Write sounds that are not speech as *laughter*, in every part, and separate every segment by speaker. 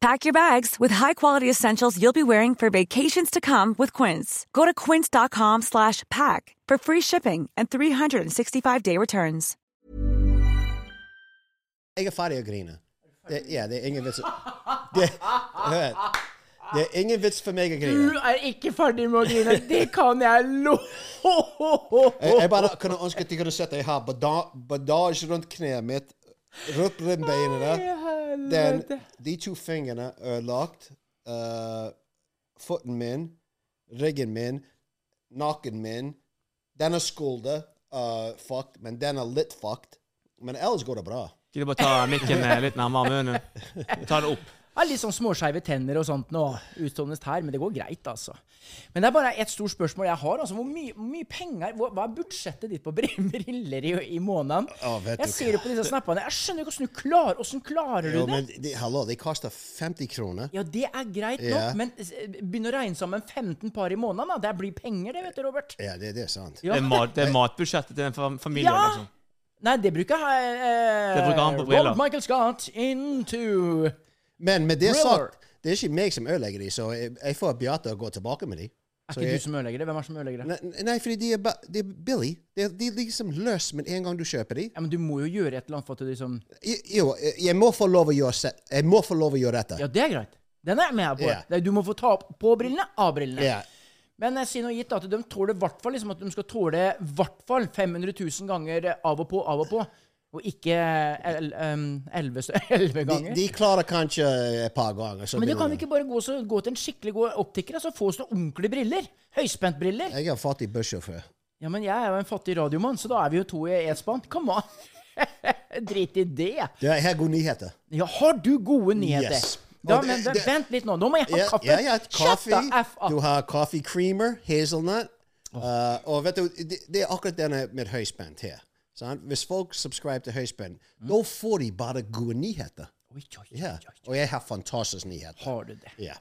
Speaker 1: Pack your bags with high-quality essentials you'll be wearing for vacations to come with Quince. Go to quince.com/pack for free shipping and 365-day returns.
Speaker 2: Jeg er ferdig å grine. Det, ja, det er ingen vits
Speaker 3: *laughs*
Speaker 2: det, hør. det er ingen vits for meg å
Speaker 3: Du
Speaker 2: grine.
Speaker 3: er ikke ferdig med å grine. Det kan jeg
Speaker 2: Jeg, jeg
Speaker 3: love!
Speaker 2: bare kunne ønske at de kunne sett at jeg har bada- bandasje rundt kneet mitt, rundt ribbeina. Den, de to fingrene ødelagt. eh, foten min, ryggen min, nakken min. Denne skulder uh, fucked, men den er litt fucked. Men ellers går det bra.
Speaker 4: Kan du bare ta mikken eh, litt nærmere munnen? Ta det opp.
Speaker 3: Jeg har litt sånn småskeive tenner og sånt nå, utstående tær, men det går greit, altså. Men det er bare ett stort spørsmål jeg har. altså, Hvor mye, hvor mye penger hvor, Hva er budsjettet ditt på br- *laughs* briller i, i måneden?
Speaker 2: Ja, vet
Speaker 3: jeg
Speaker 2: du
Speaker 3: ser
Speaker 2: hva.
Speaker 3: jo på disse snappene. Jeg skjønner ikke hvordan du klarer Hvordan klarer du
Speaker 2: Jo,
Speaker 3: det?
Speaker 2: men de, hallo, de koster 50 kroner.
Speaker 3: Ja, det er greit nok,
Speaker 2: Ja.
Speaker 3: men s- begynn å regne sammen 15 par i måneden, da. Det blir penger, det, vet du, Robert.
Speaker 2: Ja, det, det er sant.
Speaker 3: Ja.
Speaker 4: Det er, mat, det er matbudsjettet til den fam- familien.
Speaker 3: Ja!
Speaker 4: liksom.
Speaker 3: Nei, det bruker jeg eh,
Speaker 4: Det bruker han på
Speaker 3: Rob
Speaker 4: briller.
Speaker 3: Michael Scott into
Speaker 2: Men med det
Speaker 3: Thriller.
Speaker 2: sagt, det er ikke meg som ødelegger de, så jeg, jeg får Beate å gå tilbake med de.
Speaker 3: Er
Speaker 2: Så
Speaker 3: ikke
Speaker 2: jeg-
Speaker 3: du som ødelegger det? Hvem er det som ødelegger det?
Speaker 2: Nei, nei, fordi de er, ba- de er billig. De er, de er liksom løs med en gang du kjøper de.
Speaker 3: Ja, men du må jo gjøre et eller annet for at du liksom
Speaker 2: Jeg- Jo, jeg jeg må få lov å gjøre, se- jeg må få lov å gjøre dette.
Speaker 3: Ja, det er greit. Den er jeg med på.
Speaker 2: Ja.
Speaker 3: Det er- Du må få ta opp på brillene, av brillene.
Speaker 2: Ja.
Speaker 3: Men eh, si noe gitt, da. At de tåler i hvert fall liksom, at de skal tåle i hvert fall 500 000 ganger eh, av og på, av og på. Og ikke eh, el, em, 11, *laughs* stø- 11
Speaker 2: De,
Speaker 3: ganger.
Speaker 2: de klarer kanskje et par ganger. så
Speaker 3: men du
Speaker 2: vil
Speaker 3: kan
Speaker 2: de-
Speaker 3: vi ikke bare gå, så, gå til en skikkelig god optiker og så få oss noen ordentlige briller? Høyspentbriller?
Speaker 2: Jeg er en fattig bussjåfør.
Speaker 3: Ja, men jeg er jo en fattig radiomann, så da er vi jo to i ett spann. Come on! *laughs* Drit i det.
Speaker 2: Det er her er gode nyheter.
Speaker 3: Ja, har du gode nyheter?
Speaker 2: Yes.
Speaker 3: Ja,
Speaker 2: Og det-
Speaker 3: men
Speaker 2: det-
Speaker 3: vent litt nå. Nå må jeg ha
Speaker 2: Ja,
Speaker 3: kaffe.
Speaker 2: ja, ja,
Speaker 3: Shut
Speaker 2: kaffe.
Speaker 3: the F up. Oh.
Speaker 2: Du har coffee creamer, hazelnut. eh, og vet du, det, det er akkurat denne med høyspent her. Sant? Hvis folk subscriber til høyspent,
Speaker 3: Hmm?
Speaker 2: da får de bare gode nyheter.
Speaker 3: Oi, oi, oi,
Speaker 2: Ja.
Speaker 3: oi.
Speaker 2: Og jeg har fantastiske nyheter.
Speaker 3: Har du det?
Speaker 2: Ja.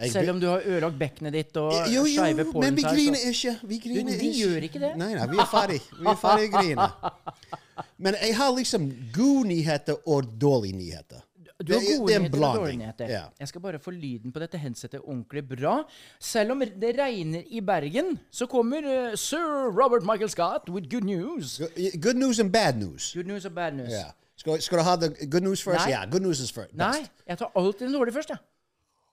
Speaker 2: Jeg, Eh,
Speaker 3: Selv om du har ødelagt bekkenet ditt og
Speaker 2: jo, jo,
Speaker 3: skeive
Speaker 2: men vi
Speaker 3: pollentær,
Speaker 2: griner
Speaker 3: så-
Speaker 2: ikke. Vi griner
Speaker 3: vi gjør ikke det.
Speaker 2: Nei, nei, vi er ferdig. Vi er ferdig å grine.
Speaker 3: *laughs*
Speaker 2: Men jeg har liksom gode nyheter og dårlige nyheter.
Speaker 3: Du har
Speaker 2: Det er-
Speaker 3: gode
Speaker 2: det er en
Speaker 3: nyheter og dårlige
Speaker 2: blanding.
Speaker 3: nyheter.
Speaker 2: Ja.
Speaker 3: Jeg skal bare få lyden på dette headsetet ordentlig bra. Selv om det regner i Bergen, så kommer eh, sir Robert Michael Scott with good news.
Speaker 2: Good news and bad news.
Speaker 3: Good news og bad news.
Speaker 2: Ja. Skal, skal du ha the good news first?
Speaker 3: Nei.
Speaker 2: Ja, good news is first.
Speaker 3: Nei, jeg tar alltid den dårlige først, jeg.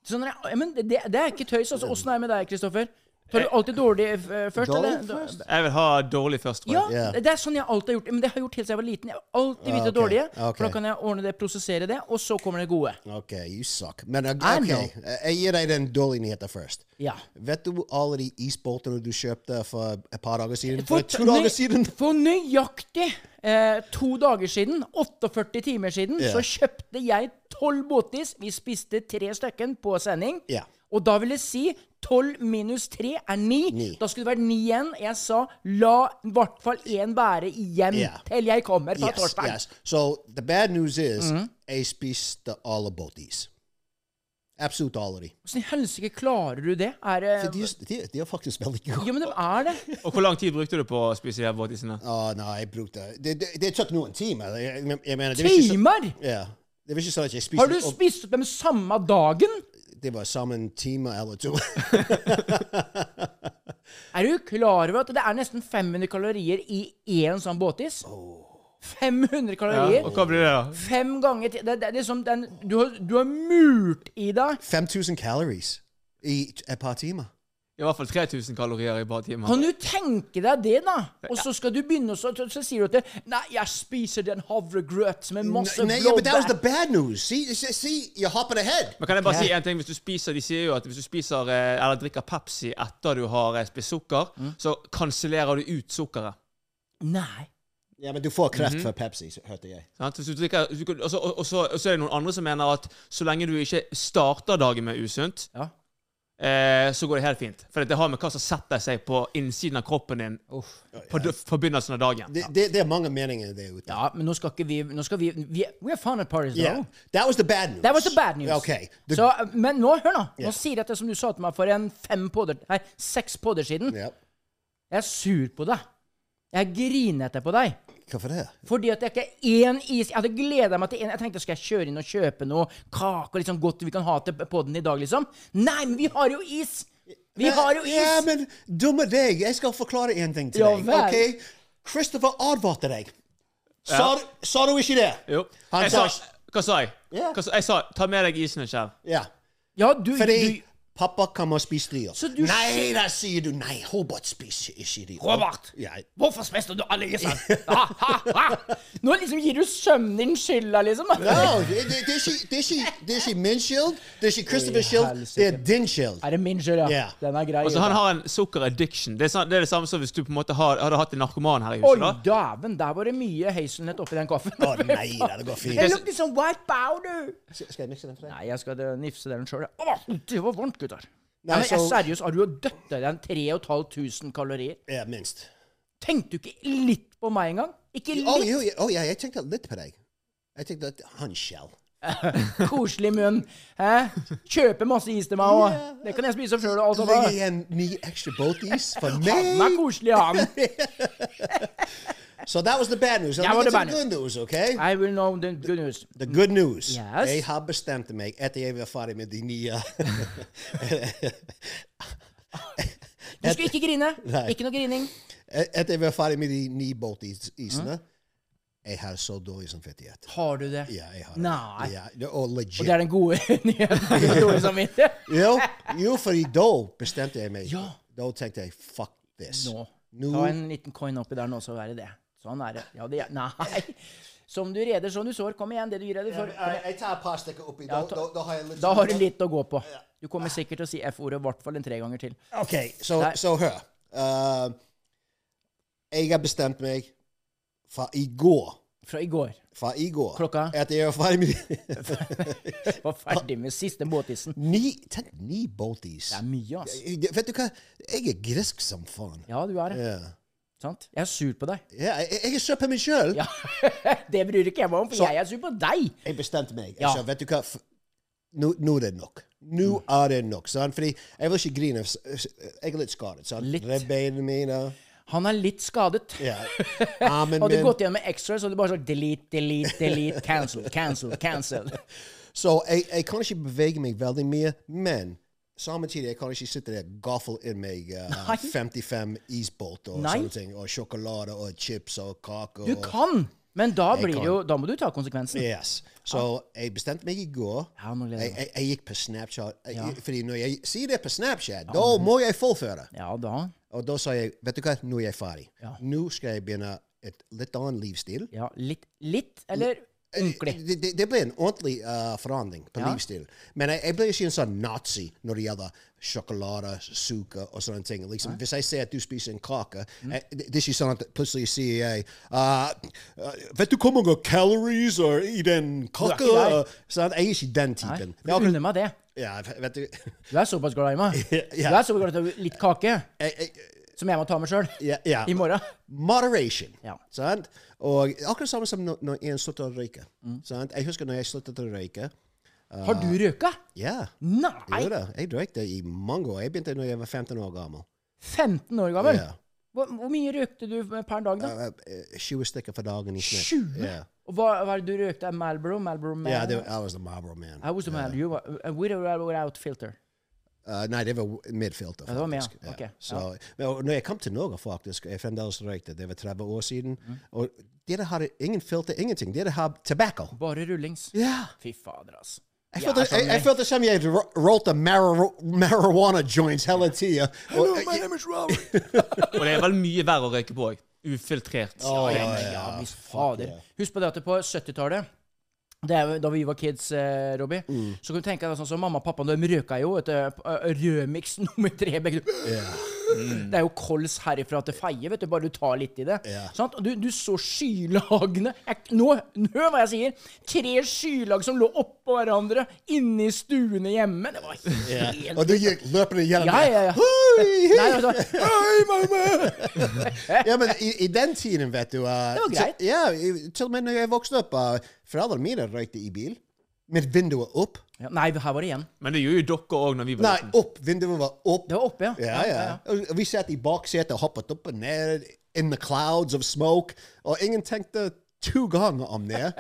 Speaker 3: Sånn er jeg- men det, det er ikke tøys. altså. Åssen er det med deg, Kristoffer? Tar du alltid dårlig eh, først?
Speaker 2: Dårlig
Speaker 3: eller?
Speaker 2: først?
Speaker 4: Jeg vil ha dårlig først. tror jeg.
Speaker 3: Ja,
Speaker 2: Ja.
Speaker 3: det- det er sånn jeg alltid har gjort. Men det har jeg gjort helt siden jeg var liten. Jeg har alltid
Speaker 2: Ah,
Speaker 3: vite det
Speaker 2: ok.
Speaker 3: dårlige.
Speaker 2: Ok.
Speaker 3: For da kan jeg ordne det, prosessere det, og så kommer det gode.
Speaker 2: Ok, you suck. uh, Men ok,
Speaker 3: I
Speaker 2: ok,
Speaker 3: know.
Speaker 2: jeg gir deg den dårlige nyheten først.
Speaker 3: Ja.
Speaker 2: Vet du alle de isboltene du kjøpte uh, for et par dager siden?
Speaker 3: For
Speaker 2: For to dager
Speaker 3: nøy-
Speaker 2: siden!
Speaker 3: For nøyaktig eh, to dager siden, 48 timer siden,
Speaker 2: Ja.
Speaker 3: så kjøpte jeg tolv båtis. Vi spiste tre stykken på sending.
Speaker 2: Ja.
Speaker 3: Og da vil det si 12 minus 3 er 9.
Speaker 2: Ni.
Speaker 3: Da skulle det vært 9 igjen. Jeg sa la i hvert fall én være igjen
Speaker 2: Ja.
Speaker 3: til jeg kommer fra
Speaker 2: Yes,
Speaker 3: torsdag.
Speaker 2: uh,
Speaker 3: Mm-hmm.
Speaker 2: yes. So the bad news is, jeg spiste alle båtis. Absolutt alle de.
Speaker 3: Åssen i helsike klarer du det? Er det
Speaker 2: Så de, er- de, er- de er faktisk veldig gode.
Speaker 3: Ja, men de er det.
Speaker 2: *laughs*
Speaker 4: Og hvor lang tid brukte du på å spise jævlbåtisene?
Speaker 2: Å, nei, jeg brukte Det, det, det tok noen timer. Jeg, jeg, jeg mener, det var ikke så-
Speaker 3: Timer!
Speaker 2: Ja. Det var ikke sånn at jeg spiste
Speaker 3: Har du
Speaker 2: opp-
Speaker 3: spist opp dem samme dagen?
Speaker 2: Det var sammen time eller to. *laughs*
Speaker 3: Er du klar over at det er nesten 500 kalorier i én sånn båtis? 500 kalorier?
Speaker 4: Og hva blir det, da?
Speaker 3: Fem ganger til det, det er liksom den, du, har, du har murt i deg
Speaker 2: 5000 calories i t- et par timer.
Speaker 4: I hvert fall 3000 kalorier i et par timer.
Speaker 3: Kan du tenke deg det, da? Og så skal du begynne, og så, så, så sier du at det, Nei, jeg spiser den havregrøt med masse
Speaker 2: Nei, ja, but that was the bad news. See, see, see you're hopping ahead.
Speaker 4: Men kan jeg bare si en ting? Hvis du spiser, De sier jo at hvis du spiser eh, eller drikker Pepsi etter du har eh, spist sukker,
Speaker 3: Mm.
Speaker 4: så kansellerer du ut sukkeret.
Speaker 3: Nei.
Speaker 2: Ja, men du får kreft for Pepsi, så hørte jeg.
Speaker 4: Sant? Hvis du drikker, hvis du- og, så, og, så, og så er det noen andre som mener at så lenge du ikke starter dagen med usunt,
Speaker 3: Ja.
Speaker 4: eh, så går det helt fint. For det har med hva som setter seg på innsiden av kroppen din på d- på begynnelsen av dagen.
Speaker 2: Det, det, det er mange meninger der ute.
Speaker 3: Ja, men nå skal ikke vi Nå skal vi Vi er we are fun at parties,
Speaker 2: Yeah.
Speaker 3: though.
Speaker 2: That was the bad news.
Speaker 3: That was the bad news.
Speaker 2: Okay. The,
Speaker 3: Så, men nå, hør nå.
Speaker 2: Ja.
Speaker 3: Nå sier jeg det som du sa til meg for en fem podder, nei, seks podder siden.
Speaker 2: ja.
Speaker 3: Jeg er sur på deg. Jeg er grinete på deg.
Speaker 2: Hvorfor det?
Speaker 3: Fordi at jeg ikke er én is Jeg hadde gleda meg til én. Jeg tenkte skal jeg kjøre inn og kjøpe noe kake og liksom godt vi kan ha til podden i dag, liksom. Nei, men vi har jo is! Vi har jo is!
Speaker 2: Ja, men dumme deg. Jeg skal forklare en ting til
Speaker 3: Ja,
Speaker 2: deg.
Speaker 3: vel.
Speaker 2: ok? Christopher advarte deg. Sa, du- sa du ikke det?
Speaker 4: Jo.
Speaker 2: Han
Speaker 4: Jeg sa,
Speaker 2: sa-
Speaker 4: hva sa jeg?
Speaker 2: Ja.
Speaker 4: Hva sa, jeg sa 'ta med deg isen, kjære'.
Speaker 2: Ja.
Speaker 3: Ja, du,
Speaker 2: Fordi
Speaker 3: du
Speaker 2: pappa kommer og spiser de opp.
Speaker 3: Så du-
Speaker 2: Nei, da sier du nei. Robert spiser ikke de opp.
Speaker 3: Robert!
Speaker 2: Ja.
Speaker 3: Hvorfor spiste du alle isene? Ha, ha, ha. Nå liksom gir du sønnen din skylda, liksom.
Speaker 2: No, *laughs* det, det, det, er ikke, det, er ikke, det er ikke min skyld, det er ikke Christophers skyld, det er din skyld.
Speaker 3: *laughs* Er det min skyld, ja?
Speaker 2: Ja.
Speaker 3: Den er grei.
Speaker 4: Altså, han har en sukkeraddiction. Det, er sånn- det er det samme som hvis du på en måte har, hadde hatt en narkoman her
Speaker 3: Å,
Speaker 4: i huset. da.
Speaker 3: dæven, der var det mye hazelnut oppi den kaffen.
Speaker 2: Å nei, da, det går
Speaker 3: *laughs* Det
Speaker 2: fint.
Speaker 3: lukter som white powder!
Speaker 2: Skal jeg mikse den for deg?
Speaker 3: Nei, jeg skal eh, nifse den sjøl. Det var varmt, gutter. Nei,
Speaker 2: Nei,
Speaker 3: men jeg,
Speaker 2: så-
Speaker 3: seriøst, har du jo døtta i deg 3500 kalorier?
Speaker 2: Ja, minst. Oh,
Speaker 3: Tenkte du ikke litt på meg engang? Ikke litt
Speaker 2: Å jo, ja, å, ja, jeg tenkte litt på deg. Jeg tenkte at han skjell.
Speaker 3: *laughs* koselig munn? Hæ? Kjøpe masse is til meg òg. Det kan jeg spise altså, opp sjøl og alt
Speaker 2: Legger
Speaker 3: sammen.
Speaker 2: igjen ni ekstra
Speaker 3: *laughs*
Speaker 2: båtis for
Speaker 3: Han er
Speaker 2: meg.
Speaker 3: koselig, han.
Speaker 2: So that was the bad news.
Speaker 3: That was the
Speaker 2: Let's
Speaker 3: bad
Speaker 2: get some good news, okay?
Speaker 3: I will know the good news.
Speaker 2: The good news.
Speaker 3: Yes.
Speaker 2: Jeg har bestemt meg etter jeg var ferdig med de nye
Speaker 3: Du skal ikke grine.
Speaker 2: Nei.
Speaker 3: Ikke noe grining.
Speaker 2: Etter jeg var ferdig med de nye båtisene. Jeg har så dårlig samvittighet.
Speaker 3: Har du det?
Speaker 2: Ja, jeg har det.
Speaker 3: Nei.
Speaker 2: Ja, det- og legit.
Speaker 3: Og det er den gode *laughs* nyheten. Dårlig samvittighet.
Speaker 2: jo, jo, fordi da bestemte jeg meg.
Speaker 3: Ja.
Speaker 2: Da tenkte jeg fuck this.
Speaker 3: Nå.
Speaker 2: Nå-
Speaker 3: Ta en liten coin oppi der nå, så er det det. Sånn er det. Ja, det er. Nei. Som du reder, sånn du sår. Kom igjen, det du gir deg for. Kom
Speaker 2: Jeg,
Speaker 3: igjen.
Speaker 2: jeg eh, tar et par stykker oppi.
Speaker 3: Ja,
Speaker 2: Da,
Speaker 3: ta-
Speaker 2: da, da har jeg litt
Speaker 3: Da har du litt å gå på. Du kommer sikkert til å si F-ordet i hvert fall en tre ganger til.
Speaker 2: OK, så
Speaker 3: Nei.
Speaker 2: så hør. Eh, jeg har bestemt meg fra i går
Speaker 3: Fra i går.
Speaker 2: Fra i går
Speaker 3: Klokka?
Speaker 2: Etter jeg var ferdig med *laughs*
Speaker 3: Var ferdig med siste båtisen.
Speaker 2: Ni Tenk, ni båtis.
Speaker 3: Det er mye, ass.
Speaker 2: Vet du hva? Jeg er grisk som faen.
Speaker 3: Ja, du er det.
Speaker 2: Ja.
Speaker 3: Sant? Jeg er sur på deg. *laughs*
Speaker 2: Ja, jeg, jeg er sur på meg sjøl.
Speaker 3: Ja. Det bryr ikke jeg meg om, for
Speaker 2: Så-
Speaker 3: jeg er sur på deg.
Speaker 2: Jeg bestemte meg.
Speaker 3: Ja. Mm.
Speaker 2: Altså, vet du hva? F- Nå, nå er det nok. Nå er det nok. Sant? Fordi jeg vil ikke grine. s- s- Jeg er litt skadet. Sant?
Speaker 3: Litt.
Speaker 2: Ribbeina mine.
Speaker 3: Han er litt skadet.
Speaker 2: Ja.
Speaker 3: *laughs*
Speaker 2: Armen
Speaker 3: Hadde du
Speaker 2: min.
Speaker 3: gått igjen med extra, så hadde du bare sagt delete, delete, delete, cancel, cancel,
Speaker 2: *laughs*
Speaker 3: cancel.
Speaker 2: Så jeg, jeg kan ikke bevege meg veldig mye, men samtidig jeg kan ikke sitte der og gaffle inn meg eh,
Speaker 3: Nei.
Speaker 2: 55 isbolter og
Speaker 3: Nei.
Speaker 2: sånne ting, og sjokolade og chips og kake.
Speaker 3: Du
Speaker 2: og,
Speaker 3: kan, men da
Speaker 2: Jeg
Speaker 3: blir
Speaker 2: kan.
Speaker 3: det jo Da må du ta konsekvensen.
Speaker 2: Yes. Så jeg bestemte meg i går.
Speaker 3: Ah. Ja, nå gleder
Speaker 2: jeg,
Speaker 3: jeg meg.
Speaker 2: jeg, jeg gikk på Snapchat. Jeg,
Speaker 3: Ja.
Speaker 2: Fordi når jeg sier det på Snapchat, da må jeg fullføre.
Speaker 3: Ja da.
Speaker 2: Og da sa jeg vet du hva, nå er jeg ferdig.
Speaker 3: Ja.
Speaker 2: Nå skal jeg begynne et litt annen livsstil.
Speaker 3: Ja, litt, litt eller ordentlig.
Speaker 2: Det, det, det ble en ordentlig eh, forandring på
Speaker 3: Ja.
Speaker 2: livsstil. Men jeg, jeg ble ikke en sånn nazi når det gjelder sjokolade, sukker og sånne ting. Liksom, hvis jeg ser at du spiser en kake,
Speaker 3: Mm.
Speaker 2: jeg, det, det er ikke sånn at plutselig sier jeg ah, ah, Vet du hvor mange calories er i den kaka?
Speaker 3: Nei.
Speaker 2: Sånn, jeg er ikke den
Speaker 3: Nei,
Speaker 2: typen.
Speaker 3: for du unner meg det.
Speaker 2: Ja, vet du jeg,
Speaker 3: Du er såpass glad i meg.
Speaker 2: *laughs* Ja.
Speaker 3: Du er såpass glad i litt kake,
Speaker 2: jeg,
Speaker 3: som jeg må ta meg sjøl.
Speaker 2: ja, ja.
Speaker 3: I morgen.
Speaker 2: Moderation.
Speaker 3: Ja.
Speaker 2: Sant?
Speaker 3: Mm.
Speaker 2: Og akkurat samme som når, når en slutter å røyke. Sant? Jeg husker når jeg sluttet å røyke,
Speaker 3: Har du røyka?
Speaker 2: Ja.
Speaker 3: Nei!
Speaker 2: Jo da, jeg røykte i mange år. Jeg begynte da jeg var 15 år gammel.
Speaker 3: 15 år gammel?
Speaker 2: Ja.
Speaker 3: Hvor, hvor mye røykte du per dag, da?
Speaker 2: Eh, eh, 20 stykker for dagen i snitt.
Speaker 3: 20?
Speaker 2: Ja.
Speaker 3: Og hva, hva er det du røykte? Malboro? Malboro Man?
Speaker 2: Ja, det var, I was the Marlboro man.
Speaker 3: I was the man. You were, uh, with or without filter.
Speaker 2: Eh, nei, det var midfilter,
Speaker 3: Ja, det var med,
Speaker 2: faktisk.
Speaker 3: ja. Ok,
Speaker 2: Så, men, og når jeg kom til Norge, faktisk, jeg fremdeles røykte, det var 30 år siden,
Speaker 3: Mm-hmm.
Speaker 2: og dere hadde ingen filter, ingenting. Dere har tobacco.
Speaker 3: Bare rullings.
Speaker 2: Ja.
Speaker 3: Fy fader, altså.
Speaker 2: Jeg
Speaker 3: Ja,
Speaker 2: følte,
Speaker 3: sånn,
Speaker 2: jeg, jeg
Speaker 3: jeg-
Speaker 2: følte som jeg ro- rollte mari- marijuana joints hele tida. Hello, my name is *laughs* Robert.
Speaker 4: Og det er vel mye verre å røyke på òg. Ufiltrert.
Speaker 3: ja, ja, visst fader. Husk på det at det på 70-tallet det er, jo da vi var kids, eh, Robbie,
Speaker 2: Mm.
Speaker 3: så kan du tenke deg sånn som mamma og pappa de røka jo vet du, eh, Rødmix *laughs* nummer tre. begge to. Det er jo kols herifra til feie, vet du, bare du tar litt i det.
Speaker 2: Mm. Ja.
Speaker 3: Sant? Og Du, du så skylagene Jeg- nå, nå, Hør hva jeg sier! Tre skylag som lå oppå hverandre inne i stuene hjemme. Det var helt
Speaker 2: Og du gikk løpende gjennom
Speaker 3: Ja, ja, ja. *laughs*
Speaker 2: Hei,
Speaker 3: Nei,
Speaker 2: hei.
Speaker 3: altså,
Speaker 2: Hei, mamma! ja, men i, i den tiden, vet du eh,
Speaker 3: Det var
Speaker 2: så-
Speaker 3: greit.
Speaker 2: Ja, i- til og med når jeg vokste opp, eh, foreldrene mine røykte i bil. Med vinduet opp.
Speaker 3: ja, Nei, her var det igjen.
Speaker 4: Men det gjorde jo dere òg når vi var
Speaker 2: Nei,
Speaker 4: liten.
Speaker 2: opp! Vinduet var opp.
Speaker 3: Det var oppe, ja.
Speaker 2: Ja, ja. Og Vi satt i baksetet og hoppet opp og ned in the clouds of smoke, og ingen tenkte to ganger om
Speaker 3: *laughs*
Speaker 2: det.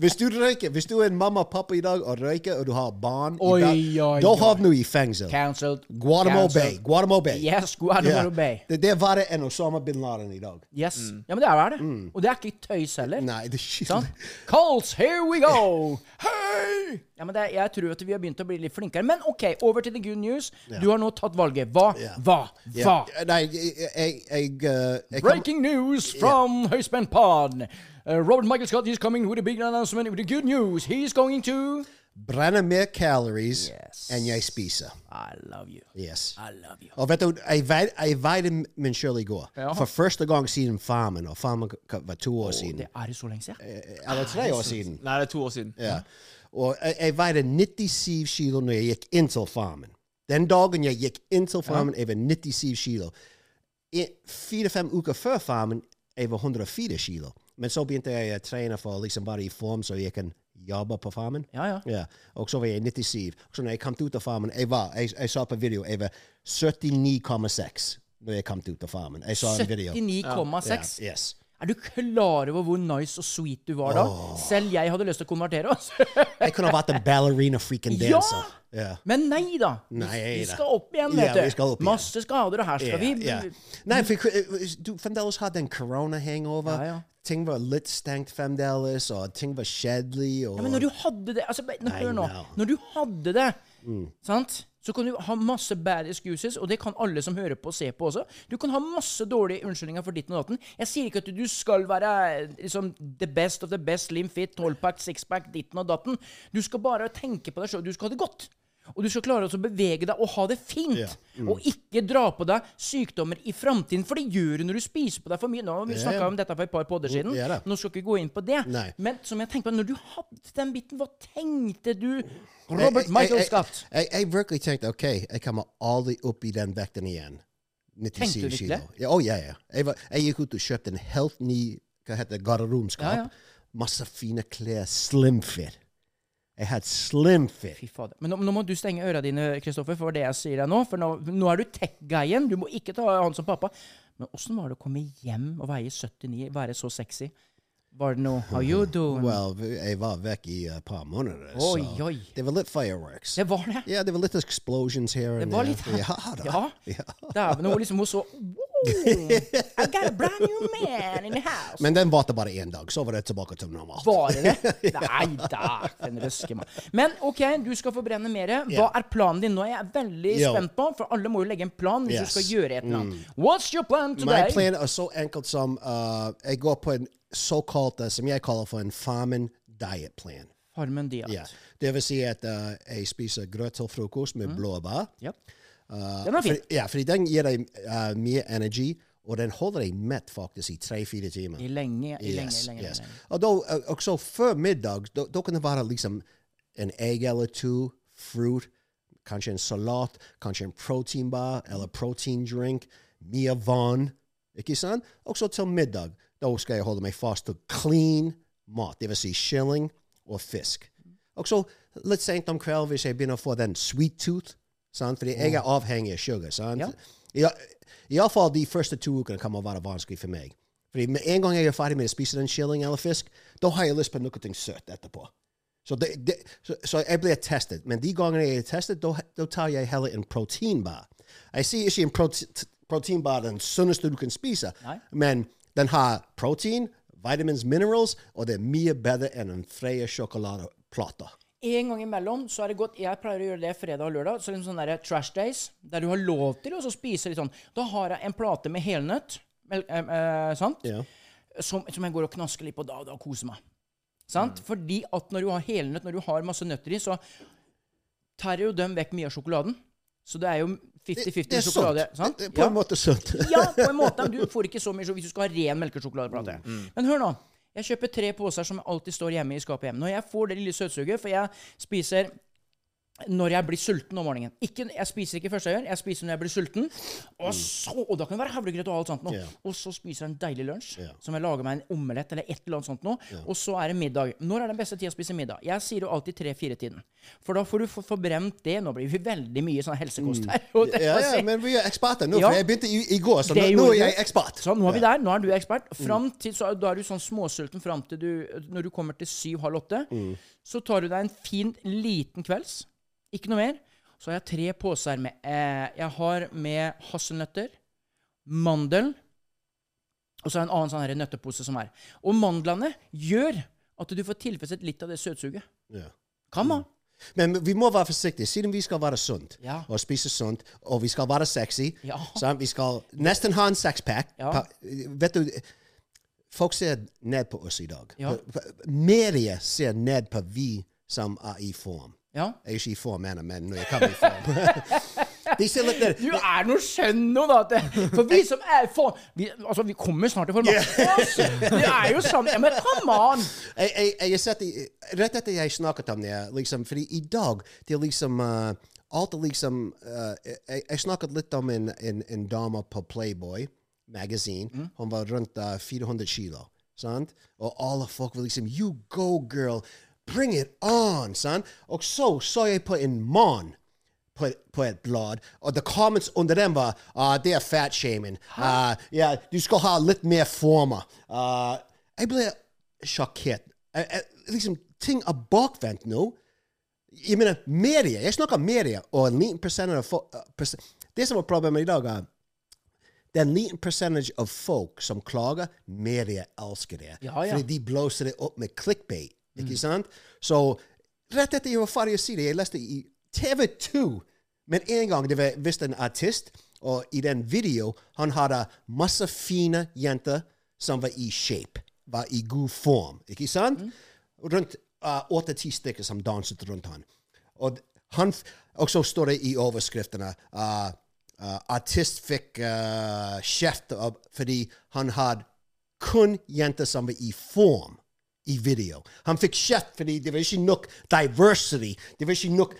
Speaker 2: Hvis du røyker, hvis du er en mamma og pappa i dag og røyker, og du har barn
Speaker 3: Oi,
Speaker 2: i dag,
Speaker 3: oi,
Speaker 2: da
Speaker 3: oi.
Speaker 2: havner du i fengsel.
Speaker 3: Cancelled.
Speaker 2: Guantanamo Bay.
Speaker 3: Cancelled.
Speaker 2: Guantanamo Bay.
Speaker 3: Yes, Guantanamo
Speaker 2: Ja.
Speaker 3: Bay.
Speaker 2: Det, det er verre enn Osama bin Laden i dag.
Speaker 3: Yes. Ja, men det er vel det. Og det er ikke tøys heller.
Speaker 2: Mm. Nei, det er shit.
Speaker 3: Sånn. Calls, here we
Speaker 2: *laughs*
Speaker 3: go! Hei! Ja, men det, er- jeg tror at vi har begynt å bli litt flinkere. Men OK, over til the good news. Du har nå tatt valget. Hva,
Speaker 2: Ja.
Speaker 3: hva, hva?
Speaker 2: Ja. Nei, jeg, jeg, jeg, eh, jeg kan-
Speaker 3: Breaking news from Høyspent Pod. Uh, Robert Michael Scott is coming with a big announcement with the good news. He's going to
Speaker 2: brenner mer calories
Speaker 3: Yes.
Speaker 2: enn jeg spiser.
Speaker 3: I love you.
Speaker 2: Yes.
Speaker 3: I love you.
Speaker 2: Og vet du, jeg veide, jeg veide min selv i går.
Speaker 3: Ja.
Speaker 2: For første gang siden farmen, og farmen k- var to år siden.
Speaker 3: Det er jo så lenge
Speaker 2: Eh,
Speaker 3: siden.
Speaker 2: Eller tre år siden.
Speaker 4: Nei, det er to år siden.
Speaker 2: Ja. Og jeg, jeg veide 97 kilo når jeg gikk inn til farmen. Den dagen jeg gikk inn til farmen, jeg var 97 kilo. I- Fire-fem uker før farmen, jeg var 104 kilo. Men eh, så begynte jeg å trene for å liksom bare i form, så jeg kan jobbe på farmen.
Speaker 3: Ja, ja.
Speaker 2: Ja, og så var jeg 97. Så når jeg kom ut av farmen, jeg var, jeg, jeg sa på video, jeg var 79,6 når jeg kom ut av farmen. Jeg sa en video.
Speaker 3: 79,6.
Speaker 2: Ja, yes.
Speaker 3: Er du klar over hvor nice og sweet du var da? Selv jeg hadde lyst til å konvertere
Speaker 2: *laughs*
Speaker 3: oss.
Speaker 2: Jeg kunne ha vært en ballerina freaking
Speaker 3: Ja!
Speaker 2: dancer. Ja.
Speaker 3: Men nei da. Vi-
Speaker 2: Nei
Speaker 3: vi
Speaker 2: da.
Speaker 3: skal opp igjen,
Speaker 2: Ja,
Speaker 3: vet du.
Speaker 2: vi skal opp igjen.
Speaker 3: Masse skader, og her skal vi
Speaker 2: Ja, ja. Nei, for øh, du fremdeles hadde en corona-hangover.
Speaker 3: Ja, ja.
Speaker 2: Ting var litt stengt fremdeles, og ting var kjedelig. Og...
Speaker 3: Ja, men når du hadde det altså, nå,
Speaker 2: I
Speaker 3: Hør nå.
Speaker 2: know.
Speaker 3: Når du hadde det, sant? så kan du ha masse bad excuses, og det kan alle som hører på og ser på også. Du kan ha masse dårlige unnskyldninger for ditten og datten. Jeg sier ikke at du skal være liksom, the best of the best, slim fit, 12-pack, 6-pack, ditten og datten. Du skal bare tenke på deg sjøl. Du skal ha det godt. Og du skal klare å bevege deg og ha det fint.
Speaker 2: Ja.
Speaker 3: Og ikke dra på deg sykdommer i framtiden, for det gjør du når du spiser på deg for mye. Nå har vi
Speaker 2: Ja,
Speaker 3: snakka
Speaker 2: ja.
Speaker 3: om dette for et par podder siden.
Speaker 2: Ja, da.
Speaker 3: Nå skal ikke vi gå inn på det.
Speaker 2: Nei.
Speaker 3: Men som jeg tenker på, når du hadde den biten, hva tenkte du? Eh,
Speaker 2: Jeg-
Speaker 3: Robert
Speaker 2: jeg-
Speaker 3: Michael
Speaker 2: jeg-
Speaker 3: Scott.
Speaker 2: Jeg, jeg virkelig tenkte OK, jeg kommer aldri opp i den vekten igjen. 97
Speaker 3: Tenkte du virkelig
Speaker 2: kilo. Ja, å, ja, ja. Jeg, var, jeg gikk ut og kjøpte en helt ny hva heter det, garderomskap.
Speaker 3: Ja, ja.
Speaker 2: Masse fine klær. Slim fit. Jeg hadde slim
Speaker 3: Fy
Speaker 2: fit.
Speaker 3: fader. Men nå, nå må du stenge øra dine, Kristoffer, for det jeg sier deg nå. For nå, nå er du tech-guyen. Du må ikke ta han som pappa. Men åssen var det å komme hjem og veie 79, være så sexy? Var det noe How you doing?
Speaker 2: Well, jeg var vekk i et par måneder.
Speaker 3: Oi,
Speaker 2: så
Speaker 3: oi.
Speaker 2: Det var litt fireworks.
Speaker 3: Det var det.
Speaker 2: Ja, det var litt explosions her.
Speaker 3: Det
Speaker 2: and
Speaker 3: var
Speaker 2: there.
Speaker 3: litt her.
Speaker 2: Ja, da.
Speaker 3: Ja.
Speaker 2: *laughs*
Speaker 3: Dæven, hun liksom hun så wow, I got a brand new man in the house.
Speaker 2: Men den varte bare én dag, så var det tilbake til normalt. *laughs*
Speaker 3: Bare det? Nei da! Den røske meg. Men OK, du skal forbrenne mer. Hva
Speaker 2: Ja.
Speaker 3: er planen din nå? Jeg er veldig
Speaker 2: Jo.
Speaker 3: spent på, for alle må jo legge en plan hvis
Speaker 2: Yes. Mm.
Speaker 3: du skal gjøre et eller annet. What's your plan today?
Speaker 2: My plan er så enkelt som uh, jeg går på en såkalt, uh, som jeg kaller for en farmen diet plan.
Speaker 3: Farmen Diat.
Speaker 2: Ja. Det vil si at uh, jeg spiser grøt til frokost med blåbær.
Speaker 3: Ja.
Speaker 2: Uh,
Speaker 3: Den var fin.
Speaker 2: for- ja, fordi den gir deg uh, mye energi, og den holder deg mett faktisk i tre-fire timer.
Speaker 3: I lenge, i lenge,
Speaker 2: Yes,
Speaker 3: i lenge. i
Speaker 2: yes. uh,
Speaker 3: lenge.
Speaker 2: Og da, og- og så før middag, da, da kan det være liksom en egg eller to, fruit, kanskje en salat, kanskje en proteinbar eller proteindrink, mye vann, ikke sant? Og så til middag, da skal jeg holde meg fast til clean mat, det vil si kylling og fisk. Og så litt sent om kvelden hvis jeg begynner å få den sweet tooth, sant? fordi jeg er avhengig av sugar. sant?
Speaker 3: Ja.
Speaker 2: Ja. Iallfall de første to ukene kommer å være vanskelig for meg. Fordi med en gang jeg er ferdig med å spise den kylling eller fisk, da har jeg lyst på noe søtt etterpå. Så, det, det, så, så jeg blir testet. Men de gangene jeg er testet, da da tar jeg heller en proteinbar. Jeg sier ikke en prote- proteinbar er den sunneste du kan spise, men den har protein, vitamins, minerals, og det er mye bedre enn en Freia sjokoladeplate.
Speaker 3: En gang imellom så er det godt Jeg pleier å gjøre det fredag og lørdag. Så liksom sånne der trash days, der du har lov til å så spise litt sånn. Da har jeg en plate med helnøtt, mel- eh, eh, sant?
Speaker 2: Ja.
Speaker 3: Som, som jeg går og knasker litt på da og da og koser meg. Sant? Fordi at når du har helnøtt, når du har masse nøtter i, så tærer jo dem vekk mye av sjokoladen. Så det er jo 50-50 sjokolade. Sant?
Speaker 2: Det er På en måte
Speaker 3: *laughs*
Speaker 2: sunt.
Speaker 3: Ja, på en måte. men Du får ikke så mye sjok- hvis du skal ha ren melkesjokoladeplate.
Speaker 2: Mm.
Speaker 3: Men hør nå. Jeg kjøper tre poser som alltid står hjemme i skapet hjemme. Når jeg får det lille søtsuget, for jeg spiser når jeg blir sulten om morgenen. Ikke, jeg spiser ikke først jeg gjør, jeg spiser når jeg blir sulten. Og så, og da kan det være havregrøt og alt sånt noe.
Speaker 2: Mm. Ja.
Speaker 3: Og så spiser jeg en deilig lunsj,
Speaker 2: Ja.
Speaker 3: som jeg lager meg en omelett eller et eller annet sånt noe. Og så er det middag. Når er den beste tida å spise middag? Jeg sier jo alltid tre-fire-tiden. For da får du få- forbrent det. Nå blir vi veldig mye sånn helsekost her. og det-
Speaker 2: Mm. Ja, ja, men vi er eksperter nå,
Speaker 3: Ja.
Speaker 2: for jeg begynte i, i går, så nå,
Speaker 3: Det
Speaker 2: nå
Speaker 3: gjorde
Speaker 2: er jeg
Speaker 3: du.
Speaker 2: ekspert.
Speaker 3: Sånn, nå er vi
Speaker 2: Ja. Mm.
Speaker 3: der. Nå er du ekspert. Fram til, så, er- da er du sånn småsulten fram til du Når du kommer til syv-halv åtte,
Speaker 2: Mm.
Speaker 3: så tar du deg en fin, liten kvelds. Ikke noe mer. Så har jeg tre poser med eh, Jeg har med hasselnøtter, mandel og så er det en annen sånn her nøttepose som er. Og mandlene gjør at du får tilfredsstilt litt av det søtsuget.
Speaker 2: Ja.
Speaker 3: Kan man.
Speaker 2: Men vi må være forsiktige, siden vi skal være sunt,
Speaker 3: Ja.
Speaker 2: og spise sunt, og vi skal være sexy.
Speaker 3: Ja.
Speaker 2: sant? Vi skal nesten ha en sexpack.
Speaker 3: Ja.
Speaker 2: Pa- Vet du, folk ser ned på oss i dag.
Speaker 3: Ja.
Speaker 2: Pa- pa- Media ser ned på vi som er i form.
Speaker 3: Ja.
Speaker 2: Jeg er ikke i form ennå, men når jeg kommer i form. *laughs* De ser litt ned.
Speaker 3: Du er noe skjønn nå, da! at det- For vi som er for, vi, Altså, vi kommer snart i form. *laughs* da. Altså, det er jo sant. Ja, men come on!
Speaker 2: jeg, jeg, jeg har sett i- Rett etter jeg snakket om det, liksom, fordi i dag det er liksom eh, Alt er liksom eh, jeg, jeg snakket litt om en, en, en dame på Playboy Magazine. Hun var rundt eh, 400 kilo. Sant? Og alle folk var liksom You go, girl! Bring it on! Sant? Og så så jeg på en mann på, på et blad, og Uh, the comments under dem var ah, det er fat shaming. Ah, ja, du skal ha litt mer former. Ah, jeg ble sjokkert. Jeg- jeg- Liksom, ting er bakvendt nå. Jeg mener, media, jeg snakker media, og en liten percentage uh, av folk Det som er problemet i dag, er det er en liten percentage av folk som klager. Media elsker det.
Speaker 3: Ja, ja.
Speaker 2: Fordi de blåser det opp med clickbait. Ikke sant? Så rett etter jeg var ferdig å si det, jeg leste i TV 2 Men en gang det var visst en artist, og i den video han hadde masse fine jenter som var i shape, var i god form. Ikke sant? Rundt åtte-ti stykker som danset rundt han. Og, d- han, f- og så står det i overskriftene uh, uh, Artist fikk uh, kjeft av- fordi han hadde kun jenter som var i form i video. Han fikk kjeft fordi det var ikke nok diversity. Det var ikke nok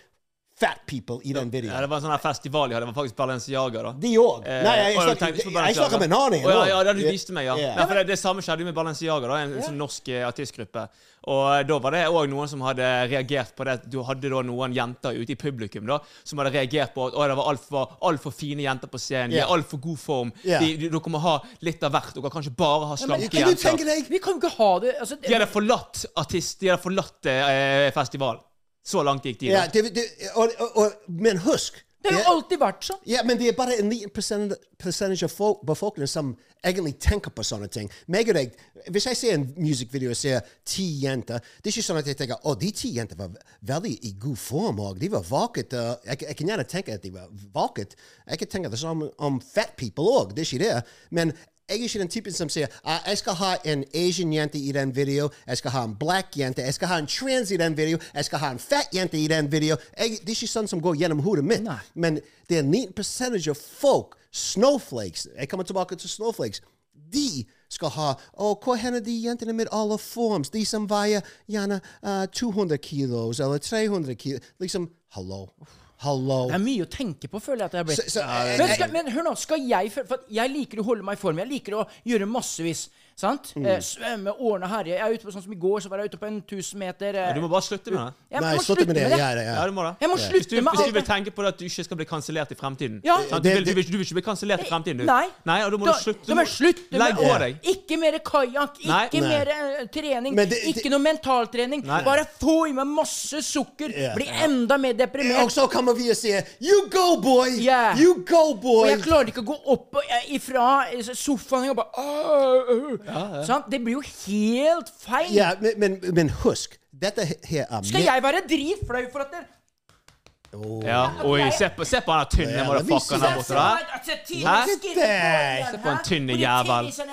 Speaker 2: fat people i den er
Speaker 4: Ja,
Speaker 2: videoen.
Speaker 4: det var Øh, en sånn her festival jeg hadde. Det var faktisk Balenciaga, da.
Speaker 2: De òg.
Speaker 4: Eh,
Speaker 2: Nei, jeg
Speaker 4: og
Speaker 2: snakker-
Speaker 4: tenkte på
Speaker 2: jeg snakker med en annen.
Speaker 4: Å, ja,
Speaker 2: nå.
Speaker 4: ja, det du viste meg, ja.
Speaker 2: Ja.
Speaker 4: Nei, for det, det samme skjedde jo med Balenciaga, da, en, en sånn norsk eh, artistgruppe. Og eh, da var det òg noen som hadde reagert på det. at Du hadde da noen jenter ute i publikum da, som hadde reagert på at å, det var altfor alt for fine jenter på scenen. De
Speaker 2: Ja.
Speaker 4: er altfor god form.
Speaker 2: Ja.
Speaker 4: De, de, dere må ha litt av hvert. Dere kan ikke bare ha slanke
Speaker 2: Kan du tenke
Speaker 4: jenter.
Speaker 2: deg
Speaker 3: Vi kan jo ikke ha det altså,
Speaker 4: De hadde forlatt artist, de hadde forlatt eh, festivalen. Så langt gikk de.
Speaker 2: ja,
Speaker 4: da.
Speaker 2: det, det, og, og, og, Men husk
Speaker 3: Det har jo alltid vært sånn.
Speaker 2: Ja, men det er bare en liten percent- percentage av folk, befolkningen som egentlig tenker på sånne ting. Meg og deg, hvis jeg ser en musikkvideo og ser ti jenter, det er ikke sånn at jeg tenker å, de ti jentene var ve- veldig i god form. og De var vaket. og Jeg, jeg kan gjerne tenke at de var vaket. Jeg kan tenke det samme om um, fat people òg. Det er ikke det. Men jeg er ikke den typen som sier «Ah, jeg skal ha en Asian jente i den video, jeg skal ha en black jente, jeg skal ha en trans i den video, jeg skal ha en fat jente i den video. Jeg, det er ikke sånn som går gjennom hodet mitt. Men det er en liten percentage av folk, snowflakes, e jeg kommer tilbake til snowflakes, oh, de skal ha «Å, hvor hender de jentene med alle forms? De som veier gjerne eh, 200 kilos eller 300 kilos. Liksom, hallo. Hallo.
Speaker 3: Det er mye å tenke på, føler jeg at jeg har blitt.
Speaker 2: Så- så-
Speaker 3: men, skal, men hør nå, skal jeg føle For at jeg liker å holde meg i form. Jeg liker å gjøre massevis. Sant? Eh, svømme, ordne, herje. Jeg er ute på sånn som i går, så var jeg ute på en 1000 meter eh,
Speaker 4: Du må bare slutte med det.
Speaker 3: Jeg må
Speaker 2: Nei,
Speaker 3: bare
Speaker 2: slutt med det. Ja, ja,
Speaker 4: Ja, du må det.
Speaker 3: Jeg må
Speaker 4: Hvis
Speaker 3: slutte
Speaker 4: du,
Speaker 3: med
Speaker 4: Hvis
Speaker 3: alt
Speaker 4: du vil
Speaker 3: det.
Speaker 4: tenke på det at du ikke skal bli kansellert i fremtiden.
Speaker 3: Ja.
Speaker 4: Sant? Du,
Speaker 2: Det-
Speaker 4: vil, du,
Speaker 2: det-
Speaker 4: vil, du vil ikke bli kansellert i fremtiden, du.
Speaker 3: Nei.
Speaker 4: Nei og da må
Speaker 3: Da-
Speaker 4: du slutte.
Speaker 3: da må jeg slutte med-
Speaker 4: Legg på deg.
Speaker 3: Ikke mer kajakk,
Speaker 4: Nei.
Speaker 3: ikke
Speaker 4: Nei.
Speaker 3: mer eh, trening,
Speaker 2: Men det-
Speaker 3: ikke
Speaker 2: det-
Speaker 3: noe mentaltrening.
Speaker 4: Nei.
Speaker 3: Bare få i meg masse sukker,
Speaker 2: Ja.
Speaker 3: bli enda mer deprimert.
Speaker 2: Og så kommer vi og sier You go, boy!
Speaker 3: Ja.
Speaker 2: You go,
Speaker 3: Og
Speaker 2: boy!
Speaker 3: jeg klarer ikke å gå opp og- eh, ifra eh, sofaen og bare «Åh, øh». Sant? Det blir jo helt feil.
Speaker 2: Ja, men, men, men husk, dette her er
Speaker 3: Skal jeg være dritflau for at dere
Speaker 4: Ja. Oi, se på, se på han der tynne
Speaker 2: Ja, men vi
Speaker 4: motherfuckeren der borte. da. Se på en tynne jævel.
Speaker 3: sånn,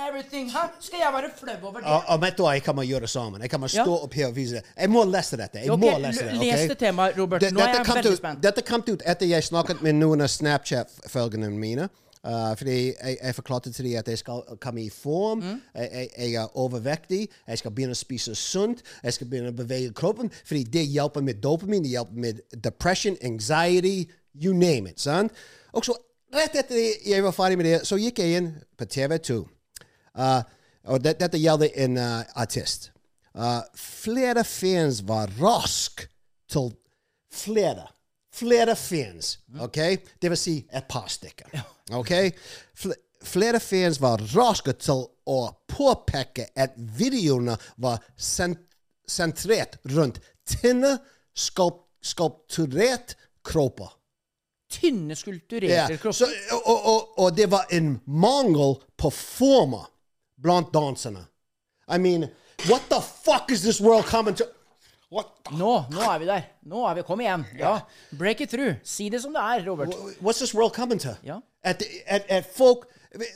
Speaker 3: Skal jeg være flau over det?
Speaker 2: Og, og vet du hva, jeg kommer gjøre det sammen. Jeg kommer stå
Speaker 3: Ja.
Speaker 2: opp her og vise det. Jeg må lese dette. Jeg
Speaker 3: Ok,
Speaker 2: må lese det,
Speaker 3: l-
Speaker 2: ok?
Speaker 3: les det til meg, Robert.
Speaker 2: Det-
Speaker 3: Nå er
Speaker 2: dette
Speaker 3: jeg
Speaker 2: kom
Speaker 3: veldig
Speaker 2: ut-
Speaker 3: spent.
Speaker 2: Dette kom ut etter jeg snakket med noen av Snapchat-følgene mine. Uh, fordi jeg, jeg forklarte til dem at jeg skal komme i form.
Speaker 3: Mm.
Speaker 2: Jeg, jeg, jeg er overvektig. Jeg skal begynne å spise sunt. Jeg skal begynne å bevege kroppen. Fordi det hjelper med dopamin, det hjelper med depression, anxiety, you name it. sant? Og så rett etter jeg var ferdig med det, så gikk jeg inn på TV2. Uh, og det, dette gjelder en uh, artist. Uh, flere fans var rask til flere. Flere fans, ok? Det vil si et par stykker, ok? Fl flere fans var raske til å påpeke at videoene var sent sentrert rundt tynne, skulp skulpturert kropper.
Speaker 3: Tynne, skulpturerte
Speaker 2: Ja, så,
Speaker 3: kropper.
Speaker 2: og, og, og det var en mangel på former blant danserne. I mean, what the fuck is this world coming to? What the,
Speaker 3: Nå, nå er vi der. Nå er vi, Kom igjen. Ja. Break it through. Si det som det er, Robert.
Speaker 2: what's this world coming to?
Speaker 3: Ja.
Speaker 2: At, at, at folk,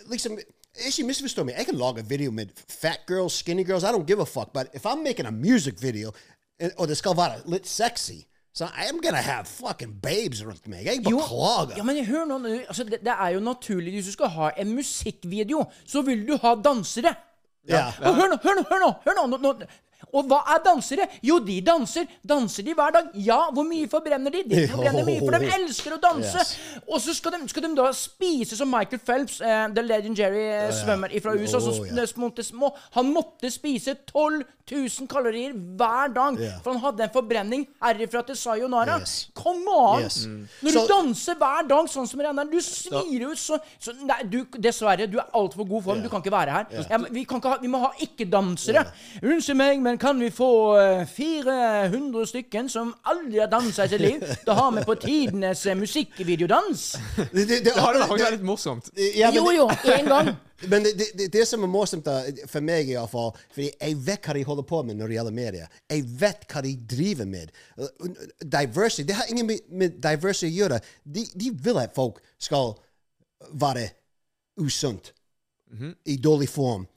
Speaker 2: liksom, ikke misforstå meg, jeg kan lage video med fat girls, skinny girls, I don't give a fuck, but if I'm making a music video, eh, og det skal være litt sexy, so I'm gonna have fucking babes rundt meg. Jeg
Speaker 3: Jo,
Speaker 2: beklager.
Speaker 3: Ja, men hør nå, nå, altså, det, det er jo naturlig hvis du skal ha en musikkvideo, så vil du ha dansere.
Speaker 2: Ja.
Speaker 3: *laughs* Og hør nå, hør nå, hør nå, hør nå, nå, nå. Og hva er dansere? Jo, de danser. Danser de hver dag? Ja, hvor mye forbrenner de? De forbrenner mye, for de elsker å danse.
Speaker 2: Yes.
Speaker 3: Og så skal de, skal de da spise som Michael Phelps, eh, the legendary eh, svømmer fra USA, som
Speaker 2: Oh,
Speaker 3: sp-
Speaker 2: ja.
Speaker 3: smånte små. Han måtte spise 12 000 kalorier hver dag,
Speaker 2: Ja.
Speaker 3: for han hadde en forbrenning herifra til sayonara.
Speaker 2: Yes.
Speaker 3: Come on!
Speaker 2: Yes. Mm.
Speaker 3: Når
Speaker 2: Så-
Speaker 3: du danser hver dag sånn som Rennar, du svir ut så, så Nei, du, dessverre, du er altfor god form. Du kan ikke være her. Ja, men vi, kan ikke ha, vi må ha ikke-dansere. Unnskyld meg, men kan vi få eh, 400 stykken som aldri har dansa i sitt
Speaker 2: *laughs*
Speaker 3: liv? Da har vi på tidenes eh, musikkvideodans.
Speaker 2: Det, det, det,
Speaker 4: Det hadde faktisk vært litt morsomt.
Speaker 2: ja, men
Speaker 3: Jo,
Speaker 2: det-
Speaker 3: jo, én gang.
Speaker 2: Men det, det, det, det som er morsomt, da, for meg i hvert fall, fordi jeg vet hva de holder på med når det gjelder media. Jeg vet hva de driver med. Uh, Diversity Det har ingen med, med diversity å gjøre. De, de vil at folk skal være usunt, i dårlig form,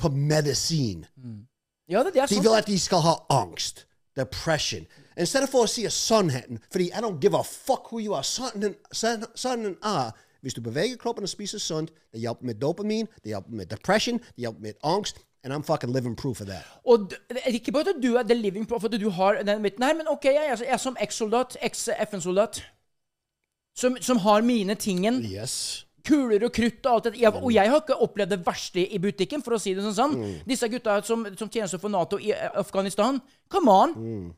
Speaker 2: på medisin.
Speaker 3: *laughs* Ja, det, det er
Speaker 2: De
Speaker 3: sånn. sant.
Speaker 2: vil at de skal ha angst. Depression. I stedet for å si sannheten, fordi I don't give a fuck who you are. Sannheten, sann- sannheten er hvis du beveger kroppen og spiser sunt, det hjelper med dopamin, det hjelper med depression, det hjelper med angst. And I'm fucking living proof of that.
Speaker 3: Og d- det er ikke bare at du er the living proof, at du har den midten her, men OK, jeg er, jeg er som eks-soldat, eks-FN-soldat, som, som har mine tingen.
Speaker 2: Yes.
Speaker 3: kuler og krutt og alt dette. Jeg, og
Speaker 2: Mm.
Speaker 3: jeg har ikke opplevd det verste i butikken, for å si det sånn. sånn. Disse gutta som, som tjenester for Nato i eh, Afghanistan, come on!